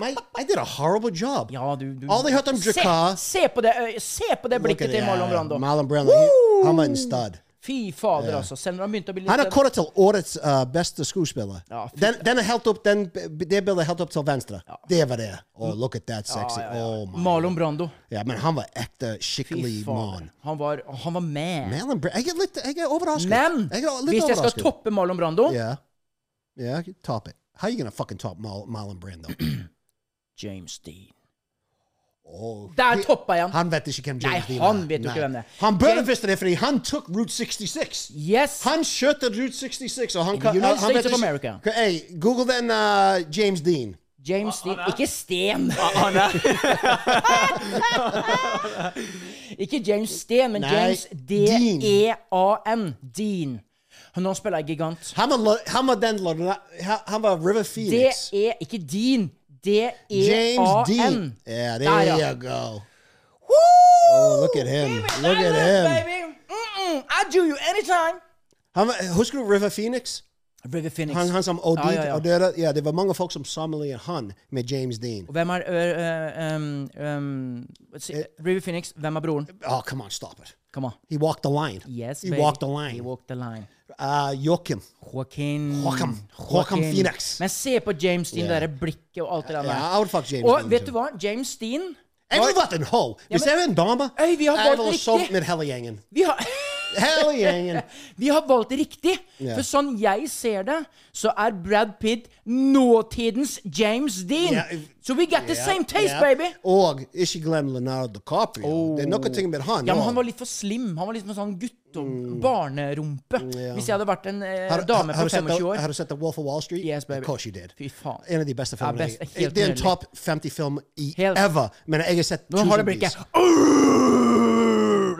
Speaker 2: my, I did a horrible job.
Speaker 3: Ja, du, du
Speaker 2: All they heard them Jakar.
Speaker 3: Se, se på det øy- Se på det
Speaker 2: Look at
Speaker 3: blikket til
Speaker 2: it,
Speaker 3: Marlon
Speaker 2: yeah,
Speaker 3: Brando.
Speaker 2: Marlon Brando. He, han var en stud.
Speaker 3: Fy fader, altså. Selv når han begynte å bli litt
Speaker 2: Han er kåret til årets uh, beste skuespiller.
Speaker 3: Ja, fy-
Speaker 2: den, den er helt opp, den, det bildet er helt opp til venstre. Det var det. Oh, look at that sexy. Oh my.
Speaker 3: Marlon Brando.
Speaker 2: Ja, men han var ekte,
Speaker 3: Fy
Speaker 2: skikkelig
Speaker 3: fader.
Speaker 2: mann.
Speaker 3: Han var, han var med.
Speaker 2: Marlon Brando. Jeg er litt jeg er overrasket.
Speaker 3: Men
Speaker 2: jeg er litt
Speaker 3: hvis jeg skal
Speaker 2: overrasket.
Speaker 3: toppe Marlon Brando
Speaker 2: Yeah. Yeah, top it. How you gonna fucking top Mal- Marlon Brando?
Speaker 3: James Dean.
Speaker 2: oh,
Speaker 3: Der
Speaker 2: he-
Speaker 3: toppa jeg han.
Speaker 2: Han vet ikke hvem James
Speaker 3: Nei,
Speaker 2: Dean
Speaker 3: han
Speaker 2: er.
Speaker 3: vet jo
Speaker 2: Nei.
Speaker 3: ikke hvem det er.
Speaker 2: Han burde
Speaker 3: James-
Speaker 2: visst det, fordi han tok Route 66.
Speaker 3: Yes!
Speaker 2: Han kjørte Route 66, og han
Speaker 3: In
Speaker 2: kan-
Speaker 3: the United
Speaker 2: han vet
Speaker 3: States of
Speaker 2: ikke-
Speaker 3: America.
Speaker 2: Hva- Hey, Google den uh, James Dean.
Speaker 3: James Dean. Ikke Sten!
Speaker 4: Han er
Speaker 3: Ikke James Sten, men
Speaker 2: Nei,
Speaker 3: James D-E-A-N. Dean. Og Nå spiller jeg gigant.
Speaker 2: Han var, lo- han var den lo- ha- Han var River Phoenix.
Speaker 3: D-E E, Ikke Dean.
Speaker 2: James
Speaker 3: D-E-A-N.
Speaker 2: Dean. Yeah,
Speaker 3: er Der,
Speaker 2: there
Speaker 3: ja.
Speaker 2: you go.
Speaker 3: Woo!
Speaker 2: Oh, look at him.
Speaker 3: Give me
Speaker 2: Look at
Speaker 3: that look,
Speaker 2: him.
Speaker 3: Baby. Mm-mm. I do you anytime.
Speaker 2: Han, var- husker du River Phoenix?
Speaker 3: River Phoenix.
Speaker 2: Han, han som OD
Speaker 3: Ja, ja, ja.
Speaker 2: og døde. Ja, det var mange folk som sammenlignet han med James Dean.
Speaker 3: Og hvem er øh, øh, um, um, si-
Speaker 2: Eh,
Speaker 3: River Phoenix, hvem er broren?
Speaker 2: Oh, come on, stop it.
Speaker 3: Come on.
Speaker 2: He walked the line.
Speaker 3: Yes,
Speaker 2: he
Speaker 3: baby.
Speaker 2: walked the line.
Speaker 3: He walked the line.
Speaker 2: uh, Joachim.
Speaker 3: Joaquin
Speaker 2: Joaquin. Joaquin Phoenix.
Speaker 3: Men se på James Dean,
Speaker 2: Ja.
Speaker 3: det der blikket og alt det der.
Speaker 2: Ja, I would fuck James
Speaker 3: og
Speaker 2: Dean,
Speaker 3: vet
Speaker 2: too.
Speaker 3: du hva? James Dean
Speaker 2: Jeg ville vært en ho. Hvis jeg var en dame,
Speaker 3: Øy, vi har
Speaker 2: jeg
Speaker 3: valgt
Speaker 2: ville
Speaker 3: riktig.
Speaker 2: sovet med hele gjengen.
Speaker 3: Vi har, *laughs*
Speaker 2: Hele gjengen.
Speaker 3: vi har valgt riktig.
Speaker 2: Ja.
Speaker 3: For sånn jeg ser det, så er Brad Pitt nåtidens James Dean.
Speaker 2: Ja,
Speaker 3: so we got the
Speaker 2: Ja,
Speaker 3: same taste,
Speaker 2: ja.
Speaker 3: baby! Oh.
Speaker 2: Og ikke glem Leonardo DiCaprio. Det er noen ting med han.
Speaker 3: Ja, men han
Speaker 2: også.
Speaker 3: var litt for slim. Han var litt med sånn gutt og barnerumpe. Hvis jeg hadde vært en eh,
Speaker 2: Mm. Har-
Speaker 3: dame
Speaker 2: har
Speaker 3: på
Speaker 2: du sett
Speaker 3: 25
Speaker 2: The-
Speaker 3: år
Speaker 2: Har du sett The Wolf of Wall Street?
Speaker 3: Yes, baby.
Speaker 2: Of course you did.
Speaker 3: Fy faen.
Speaker 2: En av de beste
Speaker 3: Ja,
Speaker 2: filmene.
Speaker 3: best-
Speaker 2: jeg-
Speaker 3: helt
Speaker 2: det er en
Speaker 3: nydelig.
Speaker 2: topp 50-film i
Speaker 3: Helt-
Speaker 2: ever, men jeg har sett
Speaker 3: Nå har det
Speaker 2: tusenvis.
Speaker 3: blikket.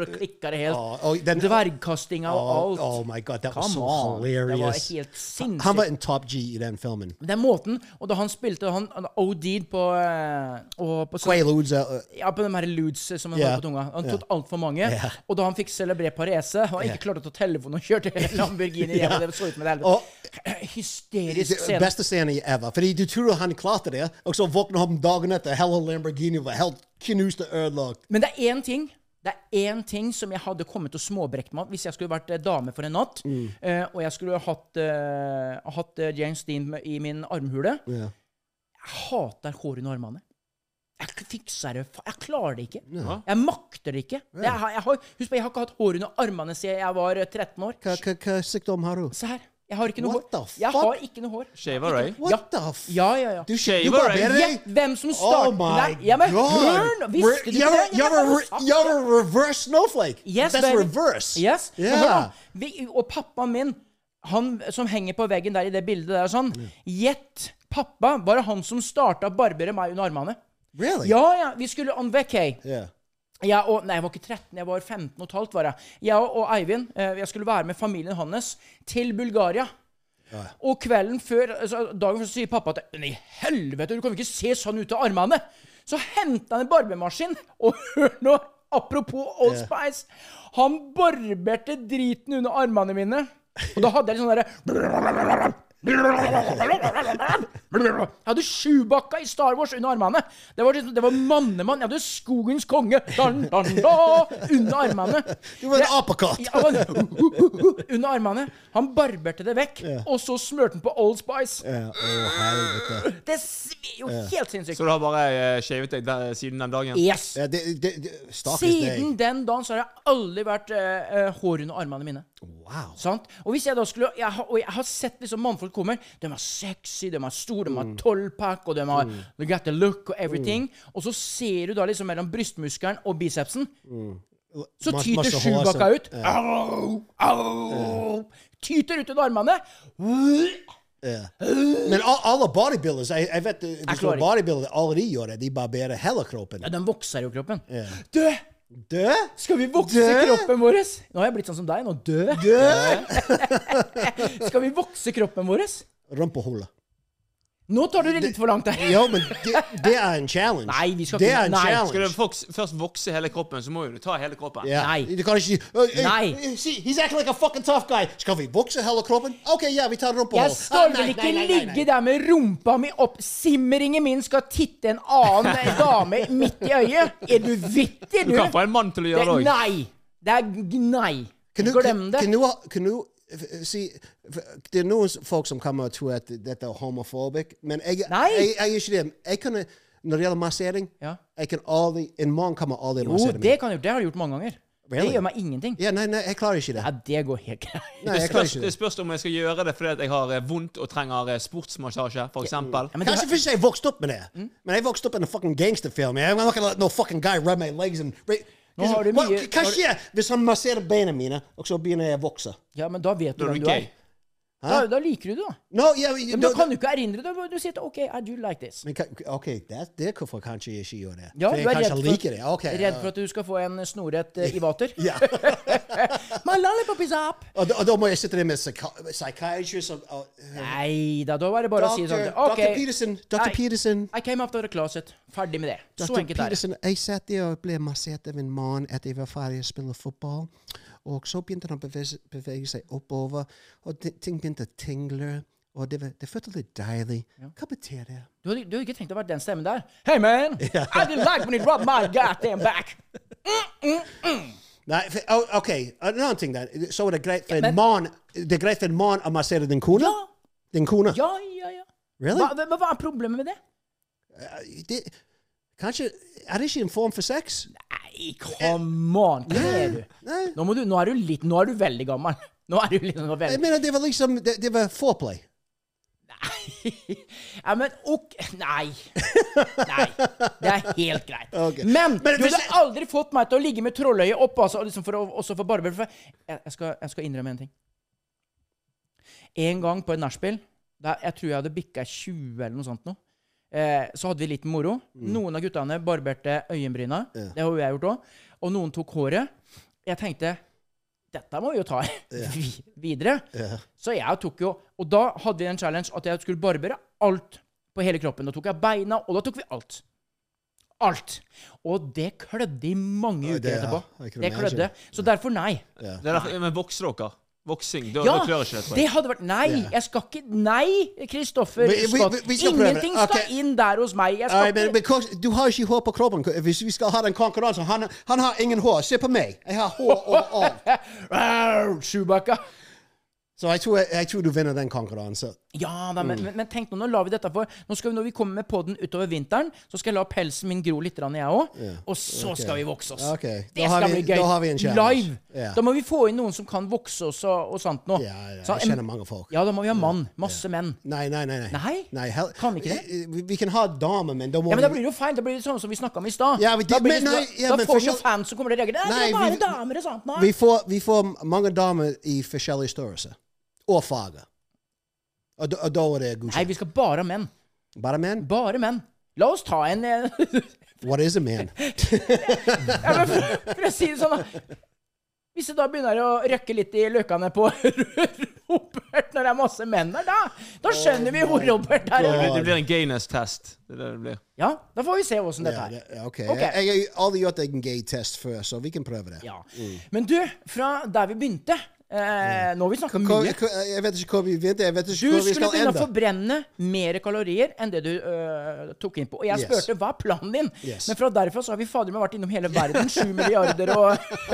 Speaker 3: Da klikka det helt.
Speaker 2: Ja, og
Speaker 3: Er
Speaker 2: den-
Speaker 3: Dvergkastinga og
Speaker 2: Oh,
Speaker 3: alt.
Speaker 2: oh my god, that was
Speaker 3: Come
Speaker 2: so
Speaker 3: on. Det var
Speaker 2: hilarious.
Speaker 3: helt
Speaker 2: Han var
Speaker 3: sinnssykt.
Speaker 2: en top G i den filmen.
Speaker 3: Den måten, og da han spilte han, han OD'd på, eh, og på sånn-
Speaker 2: Quaaludes, uh,
Speaker 3: Ja, på de her ludes som han
Speaker 2: Ja.
Speaker 3: hadde på tunga. Han tok
Speaker 2: Ja.
Speaker 3: altfor mange.
Speaker 2: Ja.
Speaker 3: Og da han fikk celebré parese, og ikke klarte å ta telefonen og kjørte *laughs* Lamborghini hjem, og det så ut med det
Speaker 2: Og-
Speaker 3: helvete. Hysterisk
Speaker 2: Det-
Speaker 3: scene.
Speaker 2: Beste scene jeg ever. Fordi du tror han klarte det, og så våkner han dagen etter, hele Lamborghini var helt knust og ødelagt.
Speaker 3: Men det er én ting. Det er én ting som jeg hadde kommet og småbrekt meg hvis jeg skulle vært eh, dame for en natt,
Speaker 2: Mm.
Speaker 3: eh, og jeg skulle hatt, eh, hatt eh, James Dean med- i min armhule. Jeg hater hår under armene. Jeg k- fikser det fa- Jeg klarer det ikke. Jeg makter det ikke. Det, jeg, har- jeg har, husk på, jeg har ikke hatt hår under armene siden jeg var eh, 13 år.
Speaker 2: Hva- hva- Hva sykdom har du?
Speaker 3: Se her. Jeg har ikke noe
Speaker 2: What
Speaker 3: hår.
Speaker 2: the
Speaker 3: Jeg
Speaker 2: fuck?
Speaker 3: har ikke noe hår.
Speaker 4: Shaver, eh? right?
Speaker 2: What
Speaker 3: Ja.
Speaker 2: the f...
Speaker 3: Ja, ja, ja.
Speaker 2: Du, sh- du
Speaker 4: Shaver,
Speaker 2: barberer deg?
Speaker 3: Gjett hvem som startet
Speaker 2: Oh my
Speaker 3: Ja, men
Speaker 2: god!
Speaker 3: hørn!
Speaker 2: Re-
Speaker 3: Visste du ikke
Speaker 2: you're,
Speaker 3: det? Ja,
Speaker 2: you're,
Speaker 3: men
Speaker 2: a,
Speaker 3: hva
Speaker 2: re-
Speaker 3: sa
Speaker 2: you're
Speaker 3: jeg?
Speaker 2: a reverse snowflake.
Speaker 3: Yes,
Speaker 2: That's
Speaker 3: baby.
Speaker 2: reverse.
Speaker 3: Yes. Og hør
Speaker 2: Yeah.
Speaker 3: da, vi, og pappaen min, han som henger på veggen der i det bildet der og sånn, gjett pappa var det han som starta å barbere meg under armene.
Speaker 2: Really?
Speaker 3: Ja, ja, vi skulle on vacay.
Speaker 2: Yeah.
Speaker 3: Jeg og, nei, jeg var ikke 13, jeg var 15 og et halvt. var Jeg Jeg og, og Eivind eh, jeg skulle være med familien hans til Bulgaria. Og kvelden før, altså, dagen før så sier pappa at Men i helvete, du kan jo ikke se sånn ut av armene! Så henta han en barbermaskin, og *laughs* hør nå, apropos Old Spice Han barberte driten under armene mine. Og da hadde jeg litt sånn derre jeg hadde Chewbacca i Star Wars under armene. Det var, liksom- det var mannemann. Jeg hadde skogens konge dan, dan, da, under armene.
Speaker 2: Du var en
Speaker 3: Det-
Speaker 2: apekatt.
Speaker 3: Ja, han- under armene. Han barberte det vekk, og så smurte han på Old Spice.
Speaker 2: Yeah. Oh, helvete.
Speaker 3: Det svir jo helt sinnssykt.
Speaker 4: Så du har bare eh, shavet deg der, siden den dagen?
Speaker 3: Yes.
Speaker 2: Ja, det- det- det- Stakkars
Speaker 3: Siden
Speaker 2: deg.
Speaker 3: den dagen så har jeg aldri vært eh, eh, hår under armene mine.
Speaker 2: Wow.
Speaker 3: Sant? Og hvis jeg da skulle jeg har, Og jeg har sett liksom mannfolk kommer. De er sexy, de er store, de
Speaker 2: Mm.
Speaker 3: har tolvpack, og de har they got the look og everything. Og så ser du da liksom mellom brystmuskelen og bicepsen Så
Speaker 2: Mm. Mas-
Speaker 3: tyter
Speaker 2: masse hår som-
Speaker 3: Sjubakka ut.
Speaker 2: Ja.
Speaker 3: Au, au, Tyter ut under armene.
Speaker 2: Men a- alle bodybuilders, jeg, jeg vet det det
Speaker 3: klarer
Speaker 2: står
Speaker 3: ikke.
Speaker 2: bodybuilder, alle de gjør det. De barberer hele kroppen.
Speaker 3: Ja, den vokser jo kroppen.
Speaker 2: Ja.
Speaker 3: Dø!
Speaker 2: Dø?
Speaker 3: Skal vi vokse
Speaker 2: Dø?
Speaker 3: kroppen vår? Nå har jeg blitt sånn som deg. Nå dø!
Speaker 2: Dø?
Speaker 3: Skal vi vokse kroppen vår? *laughs*
Speaker 2: Rumpehullet.
Speaker 3: Nå tar du det litt for langt her.
Speaker 2: Jo, men det, det er en challenge.
Speaker 3: Nei, vi skal
Speaker 2: det
Speaker 3: ikke-
Speaker 2: er en
Speaker 3: nei.
Speaker 4: Skal du
Speaker 2: challenge.
Speaker 4: folk, først vokse hele kroppen, så må jo du ta hele kroppen.
Speaker 2: Ja.
Speaker 3: Nei.
Speaker 2: Du kan ikke si «Øy, øy,
Speaker 3: Nei.
Speaker 2: see, He's acting like a fucking tough guy. Skal vi vokse hele kroppen? OK, ja, vi tar rumpehull.
Speaker 3: Jeg skal vel ikke ligge der med rumpa mi opp Simringen min skal titte en
Speaker 2: *laughs*
Speaker 3: annen dame midt i øyet. Er du vittig, du?
Speaker 4: Du kan få en mann til å
Speaker 3: det,
Speaker 4: gjøre det òg.
Speaker 3: nei! Det er g- Nei.
Speaker 2: Kan du,
Speaker 3: Glem det.
Speaker 2: Kan du, kan du f- si f- Det er noen s- folk som kommer og tror at dette er homofobisk, men jeg,
Speaker 3: Nei.
Speaker 2: jeg, jeg er ikke det. Jeg kunne, når det gjelder massering
Speaker 3: Ja.
Speaker 2: jeg kan aldri, En mann kommer aldri til å
Speaker 3: Jo,
Speaker 2: massere
Speaker 3: det
Speaker 2: meg.
Speaker 3: kan jeg gjøre. Det har du gjort mange ganger.
Speaker 2: Really?
Speaker 3: Det gjør meg ingenting.
Speaker 2: Ja, nei, nei, jeg klarer ikke det.
Speaker 3: Ja, det går helt greit.
Speaker 2: Nei,
Speaker 4: Det
Speaker 2: jeg
Speaker 4: spørs,
Speaker 2: klarer ikke
Speaker 4: det
Speaker 2: det.
Speaker 4: spørs om jeg skal gjøre det fordi at jeg har eh, vondt og trenger eh, sportsmassasje, f.eks.
Speaker 3: Ja, men det Mm.
Speaker 2: Kanskje
Speaker 3: har-
Speaker 2: hvis jeg vokste opp med det. Men jeg vokste opp i en fucking gangsterfilm. I'm not gonna let no fucking guy rub my legs and ra- Liksom,
Speaker 3: Nå har du
Speaker 2: Hva-
Speaker 3: mye-
Speaker 2: Hva
Speaker 3: har du-
Speaker 2: skjer hvis han masserer beina mine, og så begynner jeg å vokse?
Speaker 3: Ja, men da vet du
Speaker 4: Da er
Speaker 3: hvem
Speaker 4: du
Speaker 3: du er.
Speaker 4: gay.
Speaker 3: Da, da liker du det, da.
Speaker 2: No, yeah,
Speaker 3: Ja, men da kan du ikke erindre det. Du sier at OK, I do like this.
Speaker 2: Men kan- OK, det, det er hvorfor kanskje jeg ikke gjør det.
Speaker 3: Ja,
Speaker 2: For
Speaker 3: du
Speaker 2: jeg
Speaker 3: er redd
Speaker 2: kanskje
Speaker 3: for,
Speaker 2: liker det. OK.
Speaker 3: redd
Speaker 2: ja.
Speaker 3: for at du skal få en snorrett eh, i vater.
Speaker 2: *laughs* Ja.
Speaker 3: *laughs* My lollipop is up!
Speaker 2: og, da, og da må jeg sitte der med psyka- psychiatrist og, og
Speaker 3: Nei da, da var det bare å si sånn
Speaker 2: Dr.
Speaker 3: OK.
Speaker 2: Dr. Peterson, Dr.
Speaker 3: I-
Speaker 2: Peterson.
Speaker 3: I came up out of the closet. Ferdig med det. Så
Speaker 2: Dr.
Speaker 3: enkelt er det.
Speaker 2: Peterson, jeg satt der og ble massert av en mann etter jeg var ferdig å spille fotball. Og så begynte han å bevege, bevege seg oppover, og ti- ting begynte å tingle. Og det, var, det føltes litt deilig. Hva betyr det?
Speaker 3: Du hadde, du hadde ikke tenkt å være den stemmen der. Hey man! I didn't like when you rubbed my goddamn
Speaker 2: *laughs*
Speaker 3: back!
Speaker 2: Nei, for, oh, OK, en annen ting der. Så er det greit for
Speaker 3: men-
Speaker 2: en mann Det er greit for en mann å massere din kone?
Speaker 3: Ja,
Speaker 2: Din kone?
Speaker 3: ja, ja. ja.
Speaker 2: Really? Eh,
Speaker 3: Hva, hva, hva er problemet med det?
Speaker 2: Det, kanskje Er det ikke en form for sex?
Speaker 3: Nei, come on! Hva er du?
Speaker 2: Nei.
Speaker 3: Nå, må du, nå, er du litt, nå er du veldig gammel. Nå er du litt, nå er du
Speaker 2: Jeg
Speaker 3: veldig
Speaker 2: mener, det var liksom Det, det var foreplay.
Speaker 3: Nei. *laughs* Ja, men ok Nei. Nei. Det er helt greit.
Speaker 2: Ok.
Speaker 3: Men,
Speaker 2: Men
Speaker 3: du
Speaker 2: hvis
Speaker 3: hadde
Speaker 2: jeg-
Speaker 3: aldri fått meg til å ligge med trolløyet opp, altså, og liksom for å, også for barber. For jeg, jeg, skal, jeg skal innrømme en ting. En gang på et nachspiel da Jeg tror jeg hadde bikka 20 eller noe sånt nå. Eh, så hadde vi litt moro.
Speaker 2: Mm.
Speaker 3: Noen av guttene barberte øyenbryna. Det har jo jeg gjort òg. Og noen tok håret. Jeg tenkte dette må vi jo ta *laughs* vi- videre. Så jeg tok jo Og da hadde vi en challenge at jeg skulle barbere alt på hele kroppen. Da tok jeg beina, og da tok vi alt. Alt. Og det klødde i mange
Speaker 2: Ja,
Speaker 3: uker
Speaker 2: det- ja,
Speaker 3: etterpå.
Speaker 2: jeg kan
Speaker 3: Det
Speaker 2: imagine.
Speaker 3: klødde. Så derfor nei.
Speaker 4: Det er derfor, men vokser dere? Voksing? Da,
Speaker 3: Ja,
Speaker 4: da klør ikke det, sånn. tror
Speaker 3: det
Speaker 4: jeg.
Speaker 3: hadde vært Nei, jeg skal ikke Nei, Kristoffer
Speaker 2: Vi- vi-
Speaker 3: Scott.
Speaker 2: vi- vi skal prøve.
Speaker 3: Ingenting skal
Speaker 2: Ok.
Speaker 3: inn der hos meg. Jeg
Speaker 2: All
Speaker 3: skal
Speaker 2: right, men,
Speaker 3: ikke
Speaker 2: men kors- du har ikke hår på kroppen. Hvis vi skal ha den konkurransen han, han har ingen hår. Se på meg. Jeg har hår
Speaker 3: *laughs*
Speaker 2: overalt.
Speaker 3: Arr, Chewbacca.
Speaker 2: Så jeg tror, jeg tror du vinner den konkurransen.
Speaker 3: Ja da, men,
Speaker 2: Mm.
Speaker 3: men, men tenk nå, nå lar vi dette for Nå skal vi, Når vi kommer med podden utover vinteren, så skal jeg la pelsen min gro litt, grann, jeg òg. Og så skal vi vokse oss.
Speaker 2: Ok,
Speaker 3: Det
Speaker 2: da har
Speaker 3: skal
Speaker 2: vi-
Speaker 3: bli gøy.
Speaker 2: da har vi en challenge.
Speaker 3: Live.
Speaker 2: Ja.
Speaker 3: Da må vi få inn noen som kan vokse oss og, og sånt nå.
Speaker 2: Ja, ja,
Speaker 3: Så
Speaker 2: jeg
Speaker 3: en-
Speaker 2: kjenner mange folk.
Speaker 3: Ja, da må vi ha mann. Masse menn.
Speaker 2: Nei, nei, nei. Nei?
Speaker 3: Nei?
Speaker 2: hel-
Speaker 3: Kan vi ikke det?
Speaker 2: Eh, Vi, vi kan ha damer, men da må
Speaker 3: Ja, men Da blir det jo feil. Da blir det sånn som vi snakka om i stad.
Speaker 2: Ja, men
Speaker 3: da,
Speaker 2: det-
Speaker 3: blir det
Speaker 2: men
Speaker 3: sånn-
Speaker 2: nei, ja,
Speaker 3: da
Speaker 2: men
Speaker 3: får vi jo
Speaker 2: forskjell-
Speaker 3: fans som kommer og reagerer. Nei, det er
Speaker 2: Nei,
Speaker 3: bare
Speaker 2: vi-
Speaker 3: damer og sånt. Nei.
Speaker 2: vi, får, vi får mange damer i forskjellige størrelser. Og farger. Og, da- og da er det
Speaker 3: nei,
Speaker 2: godkjent.
Speaker 3: vi skal bare ha menn.
Speaker 2: Bare menn?
Speaker 3: Bare menn. La oss ta en eh, *laughs*
Speaker 2: What is a man?
Speaker 3: Ja, men for, for å si det sånn, da. Hvis jeg da begynner å røkke litt i løkene på *laughs* Robert når det er masse menn der, da, da skjønner vi hvor Robert
Speaker 4: Det blir-
Speaker 3: er.
Speaker 4: Det blir en gayness-test. Det er det det blir.
Speaker 3: Ja, da får vi se åssen dette
Speaker 2: Ja,
Speaker 3: er.
Speaker 2: det, ok.
Speaker 3: Ok.
Speaker 2: Jeg, jeg har aldri gjort en gay-test før, så vi kan prøve det.
Speaker 3: Ja. Men du, fra der vi begynte eh, Nå har vi snakka
Speaker 2: Hvor-
Speaker 3: mye.
Speaker 2: hvor- Jeg vet ikke hvor vi begynte. Jeg vet ikke
Speaker 3: Du
Speaker 2: hvor vi
Speaker 3: skulle
Speaker 2: skal
Speaker 3: begynne å
Speaker 2: ende.
Speaker 3: forbrenne mer kalorier enn det du eh, tok inn på. Og jeg
Speaker 2: Yes.
Speaker 3: spurte hva er planen din?
Speaker 2: Yes.
Speaker 3: Men fra derfra så har vi fader meg vært innom hele verden. Sju milliarder og *laughs*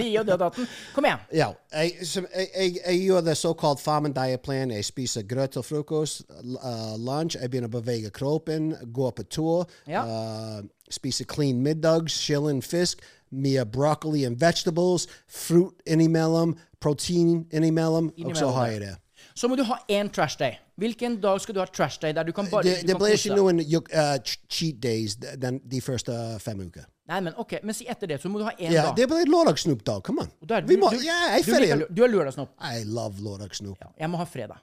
Speaker 3: de og det og datten. Kom igjen.
Speaker 2: Ja. Jeg, som, jeg, jeg, jeg gjør det såkalt farmen diet-plan. Jeg spiser grøt til frokost, l- uh, lunsj, jeg begynner å bevege kroppen, gå på tur,
Speaker 3: Ja.
Speaker 2: uh, spise clean middags, chillen fisk, mye broccoli and vegetables, fruit innimellom, protein innimellom, og så
Speaker 3: Innimellom,
Speaker 2: har
Speaker 3: ja.
Speaker 2: jeg det.
Speaker 3: Så må du ha én trash day. Hvilken dag skal du ha trash day der du kan bare
Speaker 2: Det,
Speaker 3: du
Speaker 2: det
Speaker 3: kan
Speaker 2: blir
Speaker 3: kose
Speaker 2: ikke
Speaker 3: deg?
Speaker 2: noen uh, ch- cheat days de, den- de første fem uker.
Speaker 3: Nei, men ok, men si etter det, så må du ha én,
Speaker 2: Yeah,
Speaker 3: da.
Speaker 2: det blir lørdag, Snoop Dogg. Come on.
Speaker 3: Og da er
Speaker 2: Vi må,
Speaker 3: du,
Speaker 2: ja, jeg er
Speaker 3: du, liker
Speaker 2: ferdig.
Speaker 3: lø- du er lørdagssnopp.
Speaker 2: I love lørdag, Snoop.
Speaker 3: Ja, jeg må ha fredag.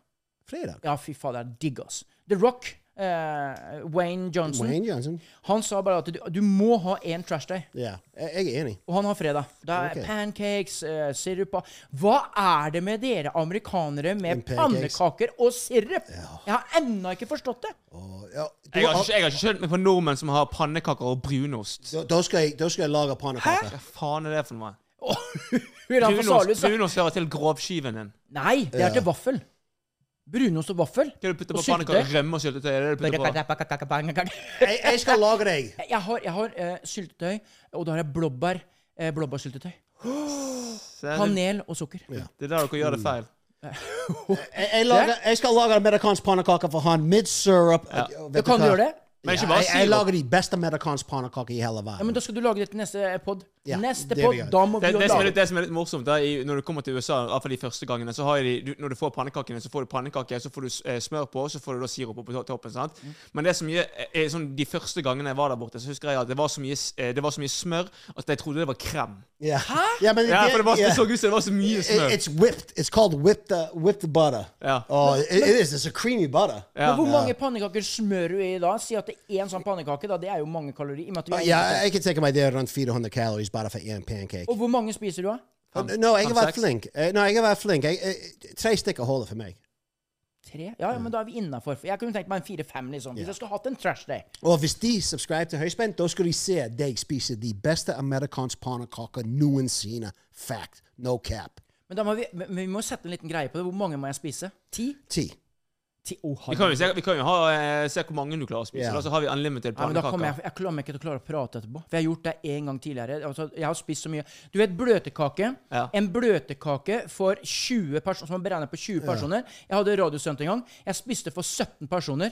Speaker 2: Fredag.
Speaker 3: Ja, fy fader, digg, ass. The Rock, eh, Wayne Johnson,
Speaker 2: Wayne Johnson.
Speaker 3: han sa bare at du, du må ha én trash day.
Speaker 2: Ja, jeg jeg er enig.
Speaker 3: Og han har fredag. Det er
Speaker 2: Ok.
Speaker 3: pancakes, eh, sirup og- Hva er det med dere amerikanere med
Speaker 2: And pancakes.
Speaker 3: pannekaker og sirup? Jeg har ennå ikke forstått det. *laughs*
Speaker 2: Og, Oh, ja, du,
Speaker 4: Jeg har, ikke, jeg har ikke skjønt meg på nordmenn som har pannekaker og brunost.
Speaker 2: da, da, skal jeg, da skal jeg lage pannekaker. *laughs*
Speaker 4: Hva faen er det for noe?
Speaker 3: Og Hør han for Salhus,
Speaker 4: Brunost,
Speaker 3: da.
Speaker 4: brunost hører til grovskiven din.
Speaker 3: Nei, det er til vaffel. Brunost og vaffel.
Speaker 4: Hva er det du putter
Speaker 3: Og
Speaker 4: på pannekaker?
Speaker 3: syltetøy.
Speaker 4: Rømme og syltetøy? Er det det du putter på?
Speaker 3: Jeg
Speaker 2: Jeg, jeg skal lage deg.
Speaker 3: har, jeg har eh, syltetøy, og da har jeg blåbær. eh, Blåbærsyltetøy.
Speaker 4: Se, det,
Speaker 3: Kanel og sukker.
Speaker 4: det er der dere gjør det feil.
Speaker 2: Jeg, jeg, lager, jeg skal lage amerikansk pannekaker for han. Med syrup. Vet
Speaker 3: Du kan
Speaker 2: hva?
Speaker 3: gjøre det.
Speaker 4: Men ikke
Speaker 2: Ja,
Speaker 4: bare
Speaker 2: jeg, jeg
Speaker 4: syrup.
Speaker 2: lager de beste amerikanske pannekaker i hele
Speaker 3: Ja, men
Speaker 2: verden.
Speaker 3: Da skal du lage det til neste pod.
Speaker 2: Ja,
Speaker 3: neste
Speaker 2: det vil
Speaker 3: pod,
Speaker 2: jeg.
Speaker 3: da må vi
Speaker 4: Det,
Speaker 3: jo
Speaker 4: det, som er
Speaker 3: lage
Speaker 4: litt, det som er litt morsomt, da, i, når du kommer til USA, i hvert fall de første gangene, så har jo de, du, når du får pannekakene, så får du pannekake, så får du eh, smør på, så får du da sirup på to- toppen. sant?
Speaker 3: Mm.
Speaker 4: Men det som gjør, er sånn, de første gangene jeg var der borte, så husker jeg at det var så mye, s- eh, det var så mye smør at jeg trodde det var krem.
Speaker 2: Ja. Ja, men
Speaker 4: Ja,
Speaker 2: det-
Speaker 4: for det, var,
Speaker 2: ja.
Speaker 4: det så ut som det var så mye
Speaker 2: It-
Speaker 4: smør.
Speaker 2: It's whipped. It's called whipped, uh, whipped butter.
Speaker 4: Ja.
Speaker 2: Oh, it, it is. It's a creamy butter.
Speaker 3: Men Hvor mange pannekaker smører du i da? Si at det er én sånn pannekake. da, Det er jo mange kalorier. i og med at vi
Speaker 2: Uh,
Speaker 3: er
Speaker 2: yeah,
Speaker 3: innfødte.
Speaker 2: I, I could take my day around 400 calories butter for one pancake.
Speaker 3: Og hvor mange spiser du, da?
Speaker 2: Uh, no, jeg
Speaker 4: fem,
Speaker 2: kan være
Speaker 4: seks.
Speaker 2: flink. Uh, no, jeg kan være flink. Jeg, eh, tre stykker holder for meg.
Speaker 3: Tre? Ja, ja,
Speaker 2: Mm.
Speaker 3: men da er vi innafor. Jeg kunne tenkt meg en fire-fem, liksom. Hvis jeg skulle hatt en trash day.
Speaker 2: Og hvis de subscriber til Høyspent, da skal de se at jeg spiser de beste amerikanske pannekaker noensinne. Fact. No cap.
Speaker 3: Men da må vi, men vi må sette en liten greie på det. Hvor mange må jeg spise? Ti?
Speaker 2: Ti.
Speaker 3: Ti? Oh,
Speaker 4: Vi kan jo, se, vi kan jo ha, eh, se hvor mange du klarer å spise.
Speaker 2: Ja.
Speaker 4: Da så har vi unlimited
Speaker 3: Ja, men da kommer jeg,
Speaker 4: pannekaker.
Speaker 3: jeg klarer meg ikke til å klare å prate etterpå. For jeg har gjort det én gang tidligere. Altså, jeg har spist så mye. Du vet bløtkake?
Speaker 4: Ja.
Speaker 3: En bløtkake for 20 personer, som er beregnet på 20 personer. Jeg hadde radiostunt en gang. Jeg spiste for 17 personer.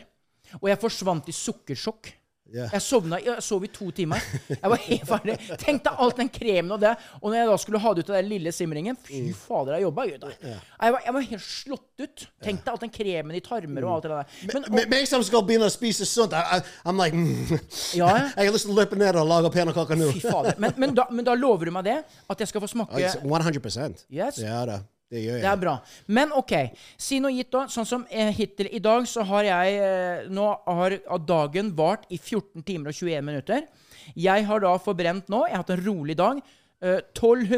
Speaker 3: Og jeg forsvant i sukkersjokk.
Speaker 2: Ja.
Speaker 3: Jeg sovna, jeg sov i to timer. Jeg var helt ferdig. Tenk deg alt den kremen og det. Og når jeg da skulle ha det ut av den lille simringen Fy fader, jeg jobba jo der. Jeg var, jeg var helt slått ut. Tenk deg alt den kremen i tarmer og alt det der. Men,
Speaker 2: Me- Meg som skal begynne å spise sunt, I, I, I'm like mm. *laughs*
Speaker 3: Ja, ja.
Speaker 2: Jeg har lyst til å løpe ned og lage pannekaker nå. *laughs*
Speaker 3: Fy fader. Men, men, da, men da lover du meg det? At jeg skal få
Speaker 2: Oh, it's
Speaker 3: smake
Speaker 2: 100
Speaker 3: Yes.
Speaker 2: Ja da. Det gjør jeg.
Speaker 3: Det er bra. Men OK. Si noe gitt, da. Sånn som eh, hittil i dag, så har jeg eh, Nå har har dagen vart i 14 timer og 21 minutter. Jeg har da forbrent nå Jeg har hatt en rolig dag. eh,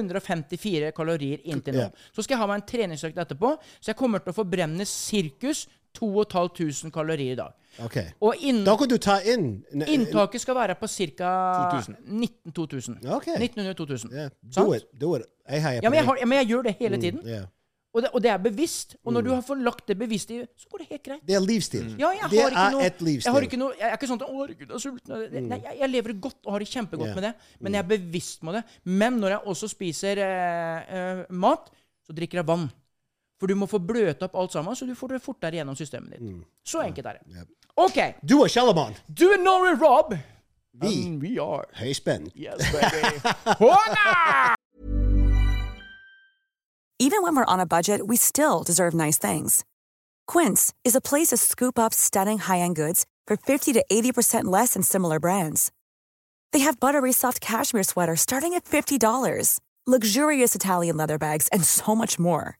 Speaker 3: 1254 kalorier inntil nå.
Speaker 2: Ja.
Speaker 3: Så skal jeg ha meg en treningsøkt etterpå. Så jeg kommer til å forbrenne sirkus 2500 kalorier i dag.
Speaker 2: Ok.
Speaker 3: Og inn-
Speaker 2: Da kan du ta inn ne-
Speaker 3: inntaket skal være på ca. 1900-2000.
Speaker 2: Ok.
Speaker 3: 1900-2000.
Speaker 2: Yeah,
Speaker 3: Sant?
Speaker 2: do it. Do it. Jeg heier
Speaker 3: Ja,
Speaker 2: på
Speaker 3: men
Speaker 2: deg.
Speaker 3: jeg, har, ja, men jeg gjør det hele tiden.
Speaker 2: Yeah.
Speaker 3: Og, det, og det er bevisst. Og
Speaker 2: Mm.
Speaker 3: når du har fått lagt det bevisst i, så går det helt greit.
Speaker 2: Det er livsstil.
Speaker 3: Ja, jeg
Speaker 2: det
Speaker 3: har ikke
Speaker 2: er
Speaker 3: noe,
Speaker 2: et livsstil. Mm.
Speaker 3: Jeg, har ikke noe, jeg er ikke sånn at 'Å, herregud, jeg er sulten'. Det- det- Nei, jeg, jeg lever godt og har det kjempegodt
Speaker 2: Ja. Mm.
Speaker 3: med det. Men jeg er bevisst med det. Men når jeg også spiser eh, eh, mat, så drikker jeg vann. For du må få bløte opp alt sammen, så du får det fortere gjennom systemet ditt.
Speaker 2: Mm.
Speaker 3: Så enkelt er det. OK.
Speaker 2: Du og Shalleman.
Speaker 3: Du and Nori Rob.
Speaker 2: Vi.
Speaker 3: And we are.
Speaker 2: Høyspent. *laughs*
Speaker 3: Yes, baby. Hola!
Speaker 1: Even when we're on a budget, we still deserve nice things. Quince is a place to scoop up stunning high-end goods for 50 to 80% less than similar brands. They have buttery soft cashmere sweaters starting at $50, luxurious Italian leather bags, and so much more.